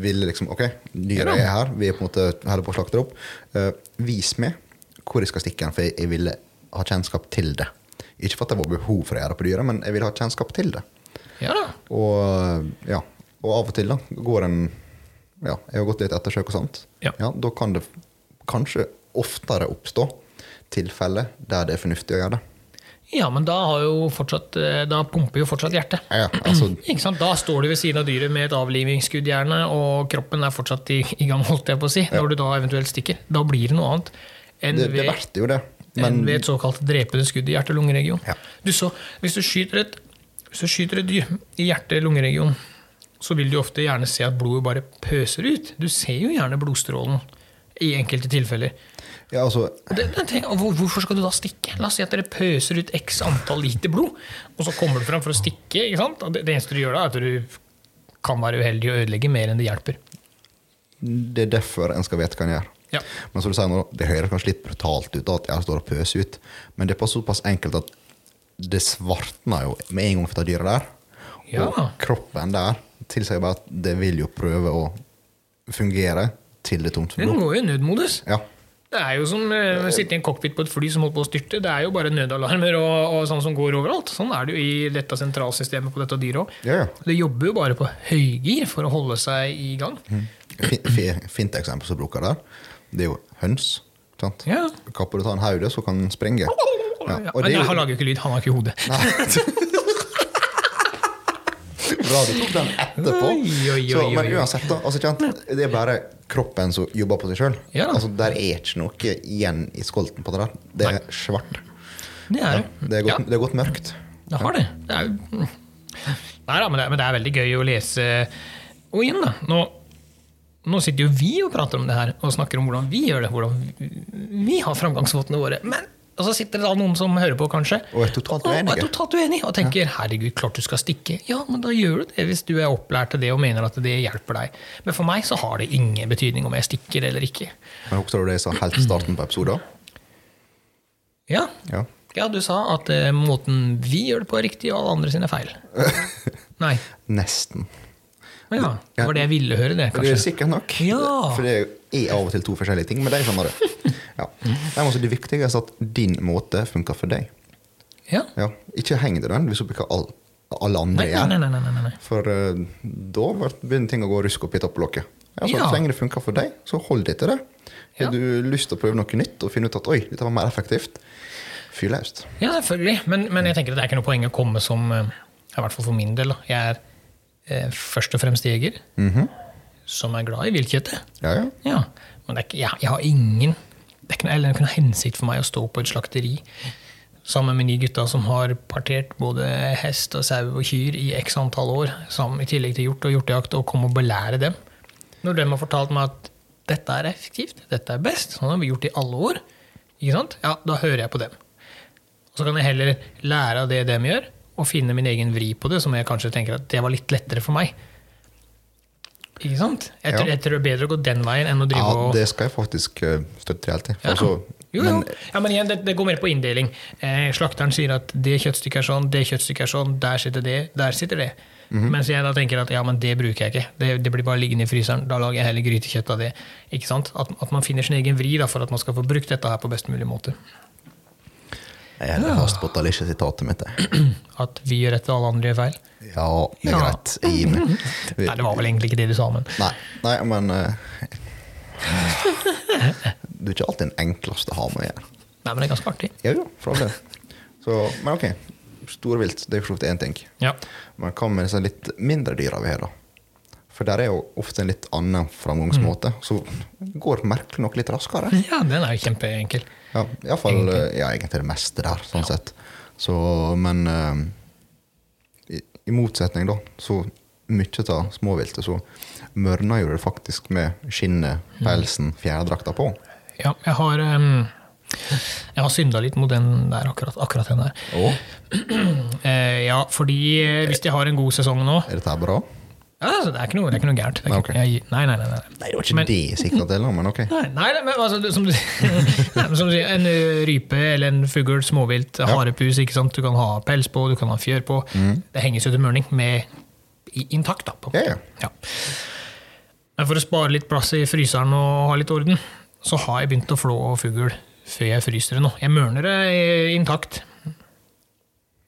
ville liksom Ok, Ja da. dyret er her, vi er på en måte holder på å slakte det opp. Eh, vis meg hvor jeg skal stikke den, for jeg, jeg ville ha kjennskap til det. Ikke for at det var behov for å gjøre det på dyret, men jeg ville ha kjennskap til det. ja da. Og, eh, ja, og av og til da, går en ja, Jeg har gått litt ettersøk og sånt. Ja. da kan det f- kanskje oftere oppstå tilfeller der det er fornuftig å gjøre det. Ja, men da, har jo fortsatt, eh, da pumper jo fortsatt hjertet. Ja, altså, Ikke sant? Da står du ved siden av dyret med et avlivingsskudd, gjerne, og kroppen er fortsatt i, i gang, holdt jeg på å si, når du da eventuelt stikker. Da blir det noe annet enn det, det ved, verste jo det. enn Men ved et såkalt drepende skudd i hjerte-lungeregion. Ja. Du så, hvis, du skyter et- hvis du skyter et dyr i hjerte-lungeregion, så vil du ofte gjerne se at blodet bare pøser ut. Du ser jo gjerne blodstrålen i enkelte tilfeller. ja, altså, Og Det, det, tenk- og hvor- hvorfor skal du da stikke? La oss si at dere pøser ut x antall liter blod, og så kommer du fram for å stikke. ikke sant? Og Det, det eneste du gjør da, er at du kan være uheldig og ødelegge mer enn det hjelper. det er derfor en skal vite hva en gjør. Ja. Men som du sier nå, det høres kanskje litt brutalt ut da, at jeg står og pøser ut, men det er på såpass enkelt at det svartner jo med en gang for det dyret der. Ja. Og kroppen der tilsier bare at det vil jo prøve å fungere til det er tomt for Den blod. går jo i nødmodus. Mm. Ja. Det er jo som eh, å sitte i en cockpit på et fly som holdt på å styrte. Det er jo bare nødalarmer og, og sånn som går overalt. Sånn er det jo i dette sentralsystemet på dette dyret òg. Ja, ja. Det jobber jo bare på høygir for å holde seg i gang. Mm. Fi- fi- Fint eksempel som bruker der, det er jo høns. Sant? Ja. Kapper du ta en haude, så kan den springe. Ja, Ja, og men det er han jo, lager jo ikke lyd. Han har ikke hode. bra du tok den etterpå. Oi, oi, oi, Så, men oi, oi. uansett, da. Altså, ikke sant? Det er bare kroppen som jobber på seg sjøl. Ja. Altså, der er ikke noe igjen i skolten på det der. Det er svart. Det er det. Det er Ja. godt, det er godt mørkt. Det har det. det er, jo- Mm. Nei da, men det, men det er veldig gøy å lese. Og igjen, da. Nå, nå sitter jo vi og prater om det her, og snakker om hvordan vi gjør det. Hvordan vi, vi har framgangsmåtene våre. Men og så sitter det da noen som hører på, kanskje, Og er totalt og, og, uenige. er totalt uenige, og tenker 'herregud, klart du skal stikke'. Ja, men da gjør du det, hvis du er opplært til det og mener at det hjelper deg. Men for meg så har det ingen betydning om jeg stikker eller ikke. Men husker du det jeg sa helt i starten på episoden? Ja, Ja. ja du sa at eh, måten vi gjør det på, er riktig, og alle andre sine er feil. Nei. Nesten. Å Ja, det var det jeg ville høre, det, Det er kanskje. sikkert nok. Ja. For det er av og til to forskjellige ting, men de skjønner det. sånn Ja. Nei, men altså, det viktigste er at din måte funker for deg. Ja. Ja. Ikke heng deg den hvis du bruker all, alle andre Nei, gjør. nei, nei, nei, nei, nei. For eh, da vart- begynner ting å gå rusk opp i topplokket. Ja, så Ja. Så lenge det funker for deg, så hold deg til det. Ja. Har du lyst til å prøve noe nytt og finne ut at oi, dette var mer effektivt? Fyr løst. Ja, selvfølgelig. Men, men jeg tenker at det er ikke noe poeng å komme som eh, I hvert fall for min del. Da. Jeg er eh, først og fremst jeger, Mhm. som er glad i viltkjøttet. Ja, ja. Ja. Men det er ikke, jeg, jeg har ingen Det er ikke noe, eller det er ikke noe hensikt for meg å stå på et slakteri sammen med de gutta som har partert både hest og sau og kyr i x antall år, sammen, i tillegg til hjort og hjortejakt, og komme og belære dem. Når de har fortalt meg at dette er effektivt, dette er best, sånn har vi gjort i alle år, ikke sant? Ja, da hører jeg på dem. Og så kan jeg heller lære av det dem gjør, og finne min egen vri på det, som jeg kanskje tenker at det var litt lettere for meg. Ikke sant? Jeg tror, Ja. jeg tror det er bedre å gå den veien enn å drive ja, og det skal jeg faktisk eh, støtte helt til. Ja. Altså, jo, jo. men ja, men igjen, det, det går mer på inndeling. Eh, slakteren sier at det kjøttstykket er sånn, det kjøttstykket er sånn, der sitter det, der sitter det. Mhm. Mens jeg da tenker at ja, men det bruker jeg ikke. Det, det blir bare liggende i fryseren. Da lager jeg heller grytekjøtt av det. Ikke sant? At, at man finner sin egen vri da, for at man skal få brukt dette her på best mulig måte. jeg er heller fast på at det ikke er sitatet mitt. jeg. At vi gjør rett og alle andre gjør feil. Ja, det er Ja. greit. Jeg gir meg. Vi- Nei, det var vel egentlig ikke det du sa, men Nei, nei men eh, Du er ikke alltid den enkleste å ha med å gjøre. Nei, men det er ganske artig. Ja, ja, for all del. Så, men ok, storvilt det er for så vidt én ting. Ja. Men hva med disse litt mindre dyra vi har, da? For der er jo ofte en litt annen framgangsmåte, så går merkelig nok litt raskere. ja, den er jo kjempeenkel. Ja, iallfall ja, Mm. egentlig det meste der, sånn sett. Så, men eh, i, i motsetning, da, så mye av småviltet så mørner jo det faktisk med skinnet, pelsen, fjærdrakta på. Ja, jeg har, um, jeg har synda litt mot den der, akkurat, akkurat den der. Og Eh, ja, fordi eh, hvis de har en god sesong nå er dette her bra? ja, altså, det, er ikke noe, det er ikke noe gærent. Det er Nei, ikke- jeg- Nei, nei, nei. nei. Nei, det var ikke Men- det jeg sikta til, da, men ok. Nei, nei, nei, men altså, du- som du, nei, men som du sier, en ø, rype eller en fugl, småvilt, harepus, ikke sant? du kan ha pels på, du kan ha fjør på. Det henges jo til mørning med i- intakt. da. På. en Ja, måte. Ja. Men for å spare litt plass i fryseren og ha litt orden, så har jeg begynt å flå fugl før jeg fryser det nå. Jeg mørner det eh, intakt,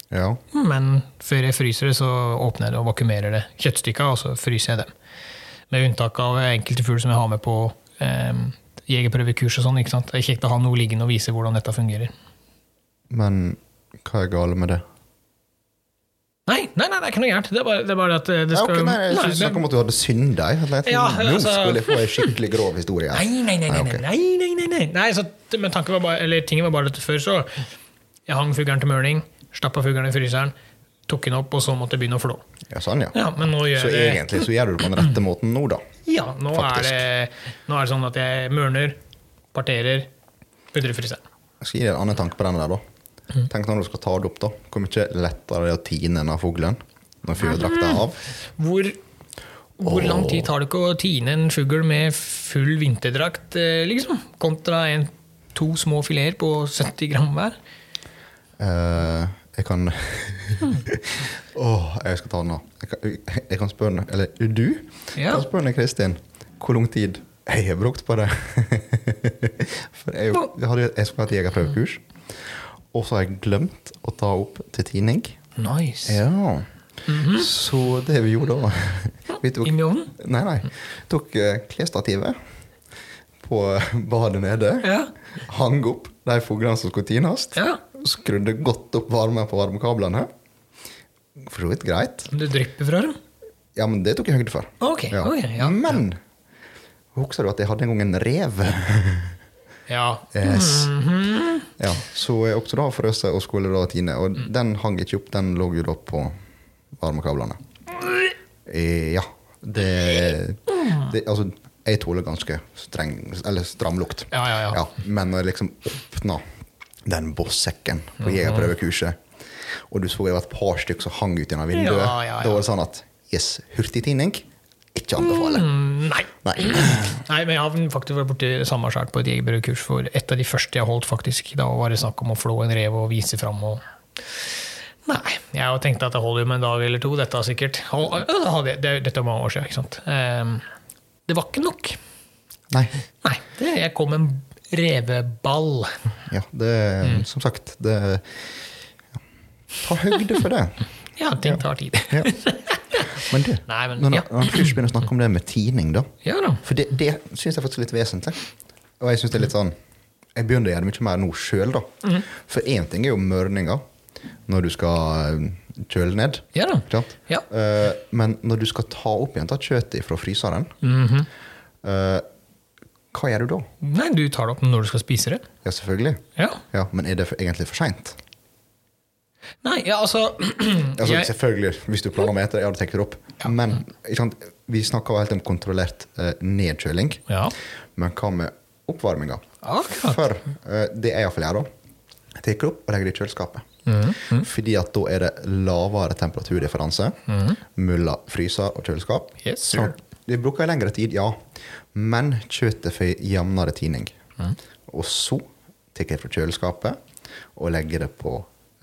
Ja. men før jeg fryser det, så åpner jeg det og vakuumerer det kjøttstykka, og så fryser jeg dem. Med unntak av enkelte fugl som jeg har med på eh, jegerprøvekurs og sånn. ikke sant? Det er kjekt å ha noe liggende og vise hvordan dette fungerer. Men hva er galt med det? Nei, nei, nei, det er ikke noe gærent. Det er bare det, er bare at eh, det Ja, skal ok, nei, jeg nei, synes snakk om at du hadde synda. jeg. Jeg tenkte, Ja, Nå altså- skulle jeg få en skikkelig grov historie. her. Nei, nei, nei, nei, Nei, Ah, ok. nei, nei, nei, nei. nei så, t- Men tanken var bare, eller tingen var bare at før så Jeg hang fuglen til mørning, stappa fuglen i fryseren, tok den opp, og så måtte jeg begynne å flå. Ja, sånn, ja. Ja, men nå gjør Så jeg det. egentlig så gjør du det på den rette måten nå, da. Ja, nå er, Faktisk. det, nå er det sånn at jeg mørner, parterer, putter i fryseren. Jeg skal gi deg en annen tanke på den der, da. Mm. Tenk når du skal ta det opp, da. Hvor mye lettere det er å tine denne fuglen når fjørdrakta er av. Hvor, hvor lang tid tar det ikke å tine en fugl med full vinterdrakt, eh, liksom? Kontra en, to små fileter på 70 gram hver? Eh, jeg kan Åh, jeg skal ta den, da. Jeg kan, jeg kan spørre henne- Eller du Ja. kan spørre henne, Kristin. Hvor lang tid jeg har brukt på det? For jeg, jeg, hadde, jeg skulle hatt jegerprøvekurs, og så har jeg glemt å ta opp til tining. Nice. Ja. Mhm. Så det vi gjorde da Vi tok, Inn i ovnen? nei, nei, tok eh, klesstativet på badet nede. Ja. Hang opp de fuglene som skulle tines. Ja. Skrudde godt opp varmen på varmekablene. For så vidt greit. Som det drypper fra dem? Ja, men det tok jeg høyde for. Ok, ja. ok, ja. Men husker du at jeg hadde en gang en rev? Ja. Yes. Mhm. Ja, så jeg også da frøs jeg og skulle da tine, og den hang ikke opp, den lå jo da på varmekablene. Eh, Ja. Det, det Altså, jeg tåler ganske streng, eller stram lukt. Ja, ja, ja. men når jeg liksom åpna den bossekken på Mhm. jegerprøvekurset, og du så det var et par stykker som hang ut gjennom vinduet, Ja, ja, ja. da var det sånn at yes, hurtigtining ikke anbefaler. Mm, Nei. Nei. Nei, men jeg har faktisk vært borti samme skjært på et jegerbrødkurs for et av de første jeg holdt, faktisk. Da var det snakk om å flå en rev og vise fram og Nei. Jeg har tenkt at det holder jo med en dag eller to, dette er sikkert. Hold- Ja, det hadde jeg- det- Dette var mange år siden, ikke sant. Ehm, Det var ikke nok. Nei. Nei. Det, jeg kom med en reveball. Ja, det Mm. Som sagt, det ja. Ta høyde for det. Ja, ting tar tid. Ja. Men du, Nei, men- når ja. når han først begynner å snakke om det med tining, da Ja da. For det, det syns jeg faktisk er litt vesentlig. Og jeg syns det er litt sånn Jeg begynner å gjøre det mye mer nå sjøl, da. For én ting er jo mørninga når du skal eh, kjøle ned. Ja da. Ikke sant? Ja. Eh, men når du skal ta opp igjen tatt kjøttet fra fryseren, eh, hva gjør du da? Nei, du tar det opp når du skal spise det. Ja, selvfølgelig. Ja. Ja, men er det for, egentlig for seint? Nei, ja, altså, Altså, jeg, Selvfølgelig, hvis du planla å ete det, ja, du tenker det opp. Men ikke sant? vi snakker jo helt om kontrollert eh, nedkjøling. Ja. Men hva med oppvarminga? Akkurat. For eh, det jeg iallfall gjør da, jeg tar det opp og legger det i kjøleskapet. Mm, Fordi at da er det lavere temperaturdifferanse mellom fryser og kjøleskap. Mm. Yes, sir. Så det bruker lengre tid, ja. Men kjøttet får jevnere tining. Mm. Og så tar jeg det fra kjøleskapet og legger det på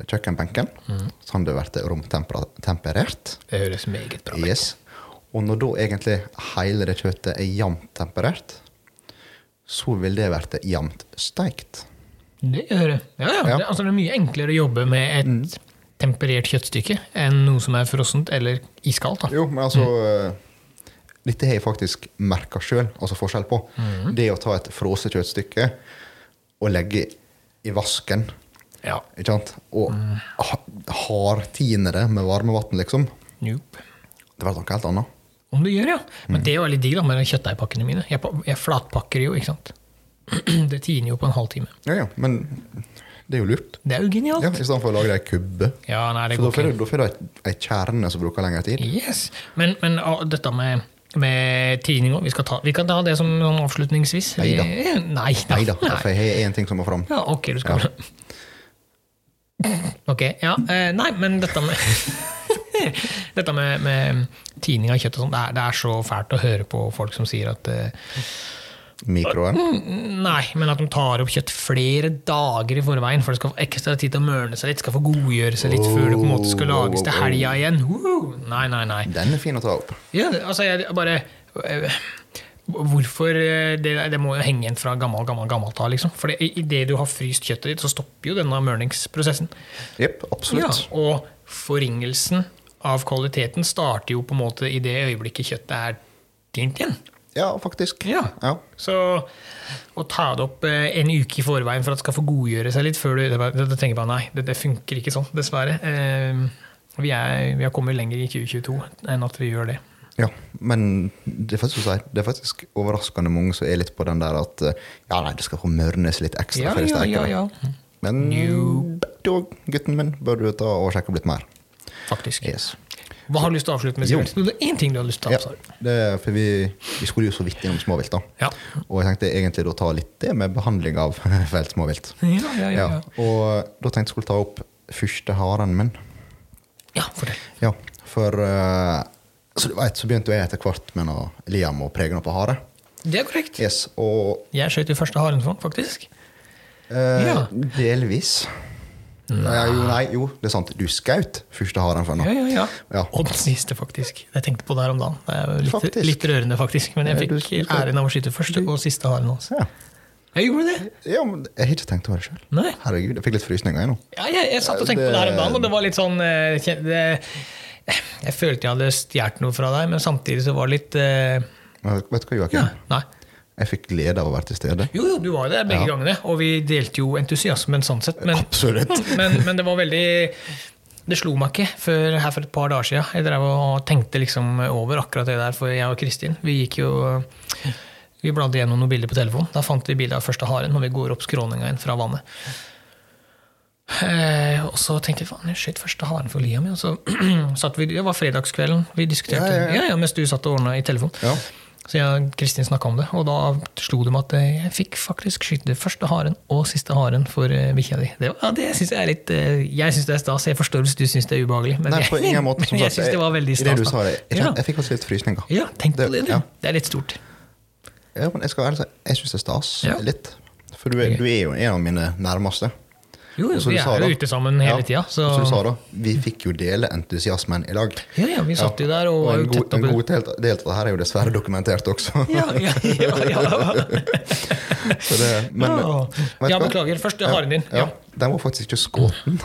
kjøkkenbenken, Mm. sånn det blir romtemperert. Det høres meget bra ut. Yes. Og når da egentlig hele det kjøttet er jevnt temperert, så vil det bli jevnt steikt. Det gjør det. Ja, ja. Mm. Ja. Det, altså, det er mye enklere å jobbe med et temperert kjøttstykke enn noe som er frossent eller iskaldt. Da. Jo, men altså eh, Dette har jeg faktisk merka sjøl, altså forskjell på. Det å ta et frosset kjøttstykke og legge i vasken, Ja. ikke sant, og ha- hardtine det med varmevann, liksom, Nope. det blir noe helt annet. Om du gjør, ja. Men det er jo veldig digg da, med de kjøttdeigpakkene mine. Jeg, pa- jeg flatpakker jo, ikke sant. Det tiner jo på en halvtime. Ja, ja, men det er jo lurt. Det er jo Ja, genialt. I stedet for å lage det i kubbe. Ja, nei, det For da går får ikke. du- da får du ei kjerne som bruker lengre tid. Yes. Men, men ah, dette med, med tining også, vi, skal ta, vi kan ta det som sånn avslutningsvis. Neida. Eh, Nei da. Nei da, for jeg har én ting som må fram. Ja, ok, du skal Ok, ja. eh, Nei, men dette med Dette med, med tining av kjøtt og sånn, det, er- det er så fælt å høre på folk som sier at eh, Mikroen. Mm. Nei, men at de tar opp kjøtt flere dager i forveien, for det skal få ekstra tid til å mørne seg litt, skal få godgjøre seg litt før det på en måte skal lages til helga igjen. Woo! Nei, nei, nei. Den er fin å ta opp. Ja, altså jeg bare eh, Hvorfor eh, det, det må jo henge igjen fra gammel, gammel, gammelt av, liksom. For idet du har fryst kjøttet ditt, så stopper jo denne mørningsprosessen. Jepp, Ja, absolutt. og forringelsen av kvaliteten starter jo på en måte i det øyeblikket kjøttet er tint igjen. Ja, faktisk. Ja. Ja. Så å ta det opp eh, en uke i forveien for at det skal få godgjøre seg litt før du det, bare- det tenker jeg bare nei, det, det funker ikke sånn, dessverre. Eh, vi, er, vi har kommet lenger i 2022 enn at vi gjør det. Ja, men det er faktisk, å si, det er faktisk overraskende mange som er litt på den der at eh, ja, nei, det skal få mørnes litt ekstra Ja, før det ja, steker. ja, ja. Men da, gutten min, bør du ta og sjekke litt mer. Faktisk. Yes. Hva har du lyst til å avslutte med? Jo. Sivert? Det er én ting du har lyst til å Ja, avslutte med. det, er- for vi, vi skulle jo så vidt innom småvilt, da. Ja. Og jeg tenkte egentlig å ta litt det med behandling av felt småvilt. Ja, ja, ja, ja. Og da tenkte jeg skulle ta opp første haren min. ja, fortell. Ja, for eh, Så du vet, så begynte jo jeg etter hvert med noe Liam og prege noe på hare. Det er korrekt. Yes, og Jeg skjøt jo første haren for han, faktisk. Eh, Ja. Delvis. Nei. Jo, nei, jo, det er sant. Du skaut første haren for nå. Ja, ja, ja. Ja. Og den siste, faktisk. Jeg tenkte på det her om dagen. Det er jo litt, Faktisk. litt rørende, faktisk. Men jeg Ja, du fikk skulle- æren av å skyte første og siste haren hans. Ja. Jeg gjorde det! Ja, men jeg har ikke tenkt over det sjøl. Nei. Herregud, jeg fikk litt frysninger jeg nå. Ja, jeg, jeg satt og tenkte på det her om dagen, og det var litt sånn eh, kjen- det, Jeg følte jeg hadde stjålet noe fra deg, men samtidig så var det litt eh, Men Vet du hva, Joakim? ja, Nei. Jeg fikk glede av å være til stede. Jo, jo, du var jo der begge gangene, og vi delte jo entusiasmen sånn sett. Men, Absolutt. men, men det var veldig Det slo meg ikke før her for et par dager siden. Jeg drev og tenkte liksom over akkurat det der, for jeg og Kristin vi gikk jo vi bladde gjennom noen bilder på telefonen. Da fant vi bildet av første haren når vi går opp skråninga inn fra vannet. Eh, og så tenkte jeg faen, jeg skjøt første haren for Liam. ja." Og så satt vi, det var fredagskvelden vi diskuterte. Ja, Ja, ja, ja, mens du satt og ordna i telefonen. Ja. Så jeg og Kristin snakka om det, og da slo det meg at eh, jeg fikk faktisk skyte første haren og siste haren for eh, bikkja di. Det, var- ja, det syns jeg er litt eh, Jeg syns det er stas. Jeg forstår hvis du syns det er ubehagelig. Men Nei, på ingen måte. men jeg syns det var veldig I det stas. du da. sa det, jeg, ja. kjente- jeg fikk faktisk litt frysninger. ja, tenk på Det- det, du. ja. Det er litt stort. Ja, men jeg skal ærlig si, jeg syns det er stas. Ja. Litt. For du er, du er jo en av mine nærmeste. Jo, jo, Og som vi du sa er jo da- ute sammen hele Ja, tida, så og Som du sa da, vi fikk jo dele entusiasmen i lag. Ja, ja, vi satt jo der og var en jo god, tett opp- en god del, del av det her er jo dessverre dokumentert også. ja, ja, ja, ja. Så det, men, Ja. vet Ja, du hva? beklager. Først haren din. Mm. Ja. Den var faktisk ikke skåten.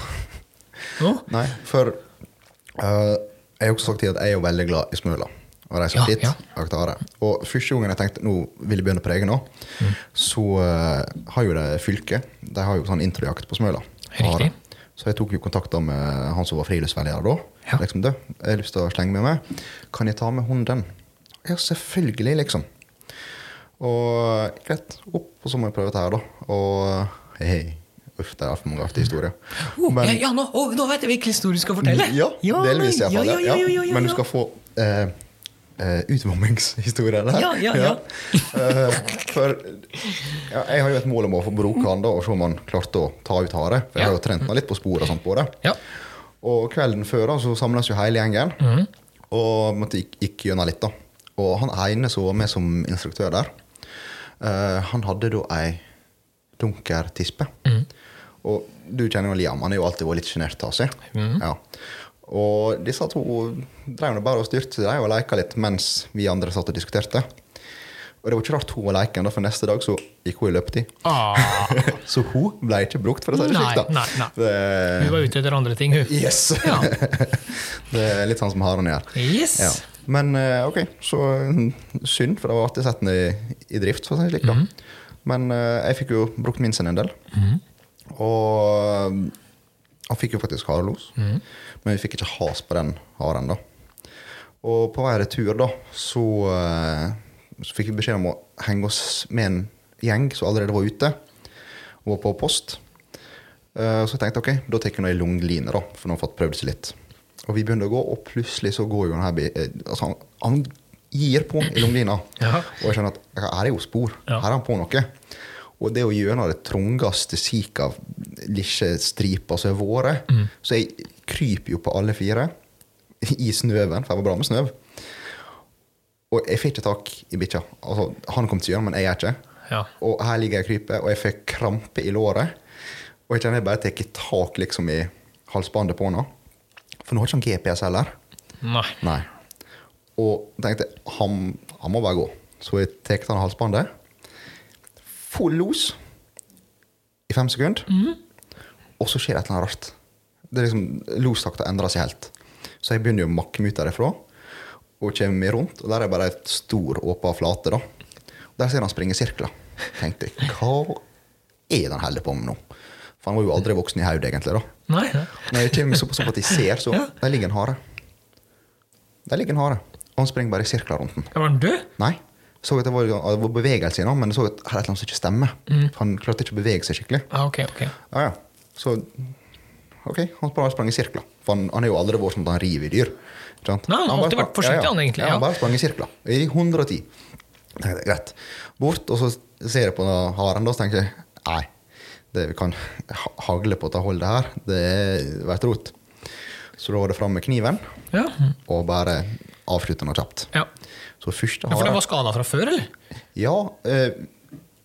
Nå? Nei, for eh, jeg har også sagt til at jeg er jo veldig glad i Smøla. og reist Ja, opp dit. ja. Akta det. Og første gangen jeg tenkte nå vil jeg begynne på det egen, år, Mm. så eh, har jo det fylket De har jo sånn introjakt på Smøla. Riktig. Har det. Så jeg tok jo kontakt da med han som var friluftsveileder da. Ja. Liksom, du, jeg har lyst til å slenge med meg. Kan jeg ta med hunden? Ja, selvfølgelig, liksom. Og greit, opp, og så må jeg prøve dette her, da. Og hei, hei. Uff, det er altfor mange artige historier. Oh, Men- ja, ja, nå, å, nå vet jeg hvilken historie du skal fortelle! ja, delvis i hvert fall. Ja, ja, ja, ja, ja, ja. Men du skal få eh, eh, utvarmingshistorie der. Ja, ja, ja. Eh, for ja, jeg har jo et mål om å få bruke han da, og se om han klarte å ta ut hare. For jeg har jo trent han litt på sporet og sånt på det. Ja. Og kvelden før da, så samles jo hele gjengen, Mhm. og måtte gikk, gikk gjennom litt da. Og han ene som var med som instruktør der, eh, han hadde da ei dunkertispe. Mhm. Og du kjenner jo Liam, han er jo alltid vært litt sjenert av seg. Mhm. Ja. Og disse to drev nå bare og styrte seg og leka litt mens vi andre satt og diskuterte. Og det var ikke rart hun var leken, da, for neste dag så gikk hun i løpetid. Ah, så hun ble ikke brukt, for å si det Nei, slik. da. nei, nei. Det- hun var ute etter andre ting, hun. Yes! Ja. det er litt sånn som haren gjør. Yes! Ja. Men eh, ok, så mm, synd, for det var artig å sette den i, i drift. For å si det slik, da. Mhm. Men eh, jeg fikk jo brukt min sin en del. Og mm, han fikk jo faktisk harelos, men vi fikk ikke has på den haren. da. Og på vei retur da, så, eh, så fikk vi beskjed om å henge oss med en gjeng som allerede var ute, og var på post. Eh, Så jeg tenkte ok, da tar jeg noe i lungline, da, for nå har jeg fått prøvd seg litt. Og vi begynner å gå, og plutselig så går jo den her bi- eh, altså, han, han gir på i lunglina. Ja. Og jeg skjønner at ja, her er jo spor. Ja. Her er han på noe. Og det er jo gjennom det trangeste siket av lille striper som har vært. Mm. Så jeg kryper jo på alle fire i snøen, for jeg var bra med snø. Og jeg fikk ikke tak i bikkja. Altså, han kom til å gjøre det, men jeg gjør ikke. Ja. Og her ligger jeg og kryper, og jeg får krampe i låret. Og jeg kjenner jeg bare tar tak liksom, i halsbåndet på henne. For nå har ikke han GPS heller. Nei. Nei. Og tenkte han, han må bare gå. Så jeg tar han halsbåndet. Full los i fem sekunder. Og så skjer det et eller annet rart. Det er liksom, Lostakta endrer seg helt. Så jeg begynner jo å makke meg ut derifra. Og kommer meg rundt, og der er bare et stor, åpen flate. da. Og Der ser han springe i sirkler. Tenkte jeg, hva er det han holder på med nå? For han var jo aldri voksen i hodet, egentlig. da. Nei. Når jeg kommer såpass opp at jeg ser, så Ja. Der ligger en hare. Der ligger en hare. Og han springer bare i sirkler rundt den. Var den død? Nei. Så at det var, det var bevegelse i den, men jeg så at her er et eller annet som ikke stemmer. For han klarte ikke å bevege seg skikkelig. Ah, ok, ok. Ja, ja. Så ok, han bare sprang i sirkler. For han, han er jo aldri vært sånn at han river i dyr. ikke sant? Nei, han har bare alltid vært sprang- forsiktig, han egentlig, Ja, ja. han bare sprang i sirkler. I 110. Tenkte jeg, Greit. Bort, og så ser jeg på den haren, da, så tenker jeg nei, det vi kan ha- hagle på dette holdet her, det blir et rot. Så da var det fram med kniven, Ja. og bare avslutte den kjapt. ja. Så første ja for den haren var skada fra før, eller? Ja, eh,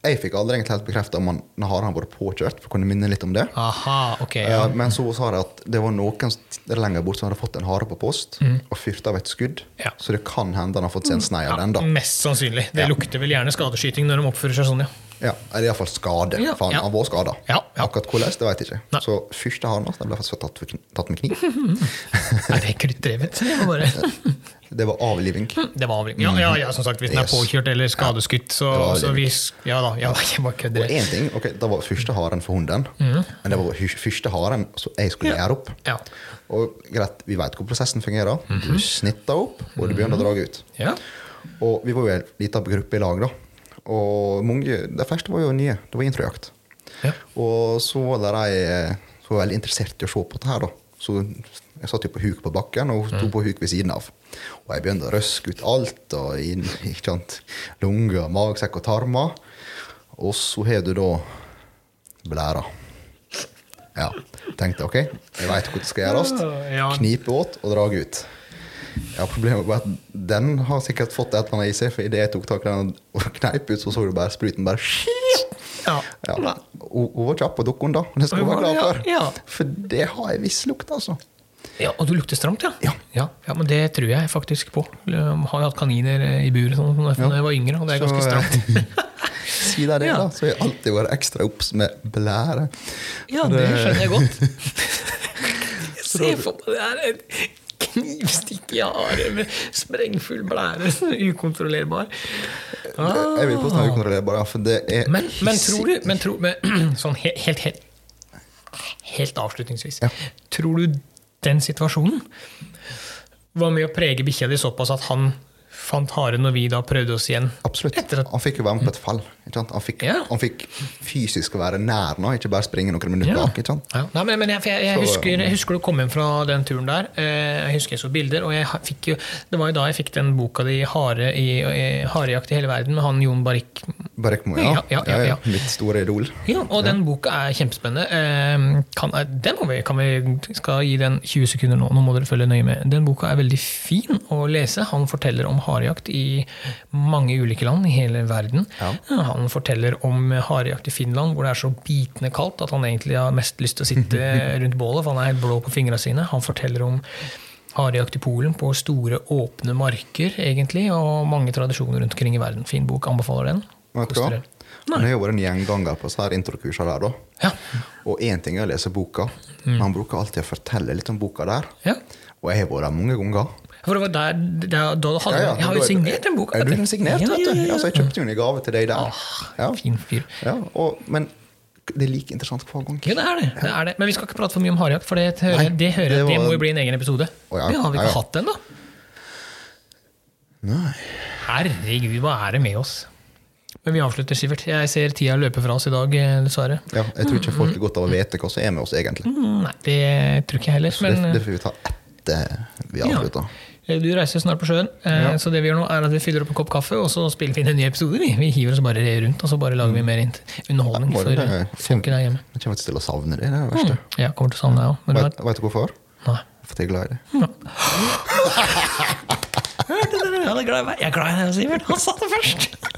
jeg fikk aldri egentlig helt bekrefta om han når haren har vært påkjørt, for kunne minne litt om det. Aha, ok. Ja. Eh, Men så sa de at det var noen st- lenger bort som hadde fått en hare på post og fyrt av et skudd. Mm. Ja. Mm. Så det kan hende han har fått seg en snei av den. da. Mest sannsynlig. Det Ja. lukter vel gjerne skadeskyting når de oppfører seg sånn, ja. Ja, Eller iallfall skade. Ja, For han, ja. han var skada. Ja, ja. Akkurat hvordan, det vet jeg ikke. Nei. Så første haren hans den ble faktisk tatt, for kn- tatt med kniv. Nei, det er kruttdrevet. Det var bare Det var avliving. Det var avlivning. Ja, ja, ja, som sagt, hvis den er Yes. påkjørt eller skadeskutt, så, Det var så avlivning. hvis Ja da, ja da, jeg bare Og kødder. én ting, ok, Det var første haren for hunden, men det var hy- første haren som jeg skulle Mm. Ja. gjøre opp. Ja. Mhm. Og greit, Vi vet hvordan prosessen fungerer. Du snitter opp, og du begynner å dra ut. Ja. Og vi var jo en liten gruppe i lag, da. Og mange, de fleste var jo nye. Det var introjakt. Ja. Og så var det ei eh, som var veldig interessert i å se på det her, da. Så jeg satt jo på huk på bakken, og hun Mm. sto på huk ved siden av. Og jeg begynte å røske ut alt, og inn, ikke sant, lunger, magsekk og tarmer. Og så har du da blæra. Ja. Tenkte ok, jeg veit hva det skal gjøres. Ja. Knipe åt og dra ut. Ja, Problemet var at den har sikkert fått et eller annet i seg, for idet jeg tok tak i den og kneip ut, så så du bare spruten bare ja. ja. Hun hun var kjapp på dukken da, og det skal hun Hun være glad var- for. ja, ja. For det har jeg visst lukt, altså. ja, Og du lukter stramt, ja. Ja. ja? Ja, men det tror jeg faktisk på. Jeg har jo hatt kaniner i bur sånn, da jeg var yngre, og det er ganske Så, eh, stramt. Si deg det, Ja. da. Så har jeg alltid vært ekstra obs med blære. Ja, Så det skjønner jeg godt. Jeg ser for meg det er en knivstikk i armen med sprengfull blære. Ukontrollerbar. Ah. Jeg vil påstå at ukontrollerbar, ja, for det er Men, men tror du men tror, men, Sånn he- helt, helt, helt avslutningsvis. Ja. Tror du den situasjonen var med å prege bikkja di såpass at han fant haren når vi da prøvde oss igjen? Absolutt. Etter at- Han fikk jo være med på et fall. Ikke sant? Han, fikk, Ja. han fikk fysisk å være nær nå, ikke bare springe noen minutter bak. Ikke sant? Ja. Nei, men, men jeg, for jeg, jeg, Så- um, husker, jeg husker du kom hjem fra den turen der. Eh, Jeg husker jeg så bilder, og jeg ha- fikk jo, det var jo da jeg fikk den boka di, Hare i, i Harejakt i hele verden, med han Jon Barrik. Barkmo, Ja, ja, ja, ja. Mitt store idol. Ja, og den boka er kjempespennende. Eh, Kan, eh, den må vi, kan vi skal gi den 20 sekunder nå, nå må dere følge nøye med. Den boka er veldig fin å lese. Han forteller om harejakt i mange ulike land i hele verden. Ja. Han forteller om harejakt i Finland, hvor det er så bitende kaldt at han egentlig har mest lyst til å sitte rundt bålet, for han er helt blå på fingrene sine. Han forteller om harejakt i Polen på store, åpne marker, egentlig, og mange tradisjoner rundt omkring i verden. Fin bok, anbefaler den. Vet du Koster hva? dere. Han har jo vært en gjenganger på disse her introkursene der, da. Ja. Og én ting er å lese boka, men han bruker alltid å fortelle litt om boka der. ja. Og jeg har vært der mange ganger. For det var der, der da hadde, Ja, ja, Jeg har da jo er- signert den boka. Er du den signert, ja, vet du? ja, Ah, Ja, ja. så jeg kjøpte jo den i gave til deg der. Ja. Fin fyr. Ja, og, men det er like interessant hver gang. Ja, det er det, det er det. Men vi skal ikke prate for mye om harejakt, for det, hører, Nei, det, hører, det, det var- må jo bli en egen episode. Å, ja. Det har vi Ja, ikke ja. hatt ennå. Nei. Herregud, hva er det med oss? Men vi avslutter, Sivert. Jeg ser tida løpe fra oss i dag, eh, dessverre. Ja, jeg tror ikke folk har godt av å vite hva som er med oss, egentlig. Mm, Nei, det tror ikke jeg heller. Det, Men eh, det får vi ta etter vi Ja. avslutter. eh, du reiser snart på sjøen, eh, så det vi gjør nå, er at vi fyller opp en kopp kaffe, og så spiller vi inn en ny episode. Vi, vi hiver oss bare rundt, og så bare lager vi mer int- underholdning Ja, for det er- eh, folket der hjemme. Jeg kommer til å savne det, det er det verste. Ja, kommer til å savne deg òg, men du Vet, vet du hvorfor? vet Nei. For jeg er glad i det. Hørte dere? Han er glad i meg. Jeg er glad i deg, Sivert. Han sa det først!